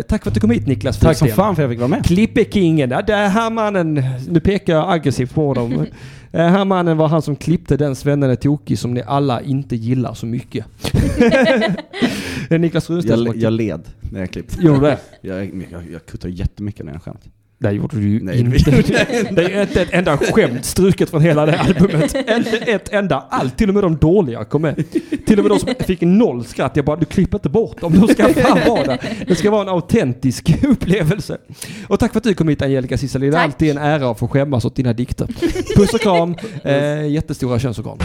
tack för att du kom hit Niklas Tack som Flodsten. fan för att jag fick vara med. Klippekingen, ja, det här mannen, nu pekar jag aggressivt på dem. Den här mannen var han som klippte den svennen är tokig som ni alla inte gillar så mycket. Det är Niklas Runstedt som har Jag, jag klippt. led när jag klippte. Gjorde du det? Jag, jag, jag kuttar jättemycket när jag skämt. Det gjorde du ju Nej, inte. det Det är ju inte ett enda skämt struket från hela det albumet. Inte ett enda. Allt, till och med de dåliga kom med. Till och med de som fick noll skratt. Jag bara, du klipper inte bort dem. De ska fan vara där. Det ska vara en autentisk upplevelse. Och tack för att du kom hit Angelica Cicely. Det är Tack. alltid en ära att få skämmas åt dina dikter. Puss och kram. Eh, jättestora könsorgan.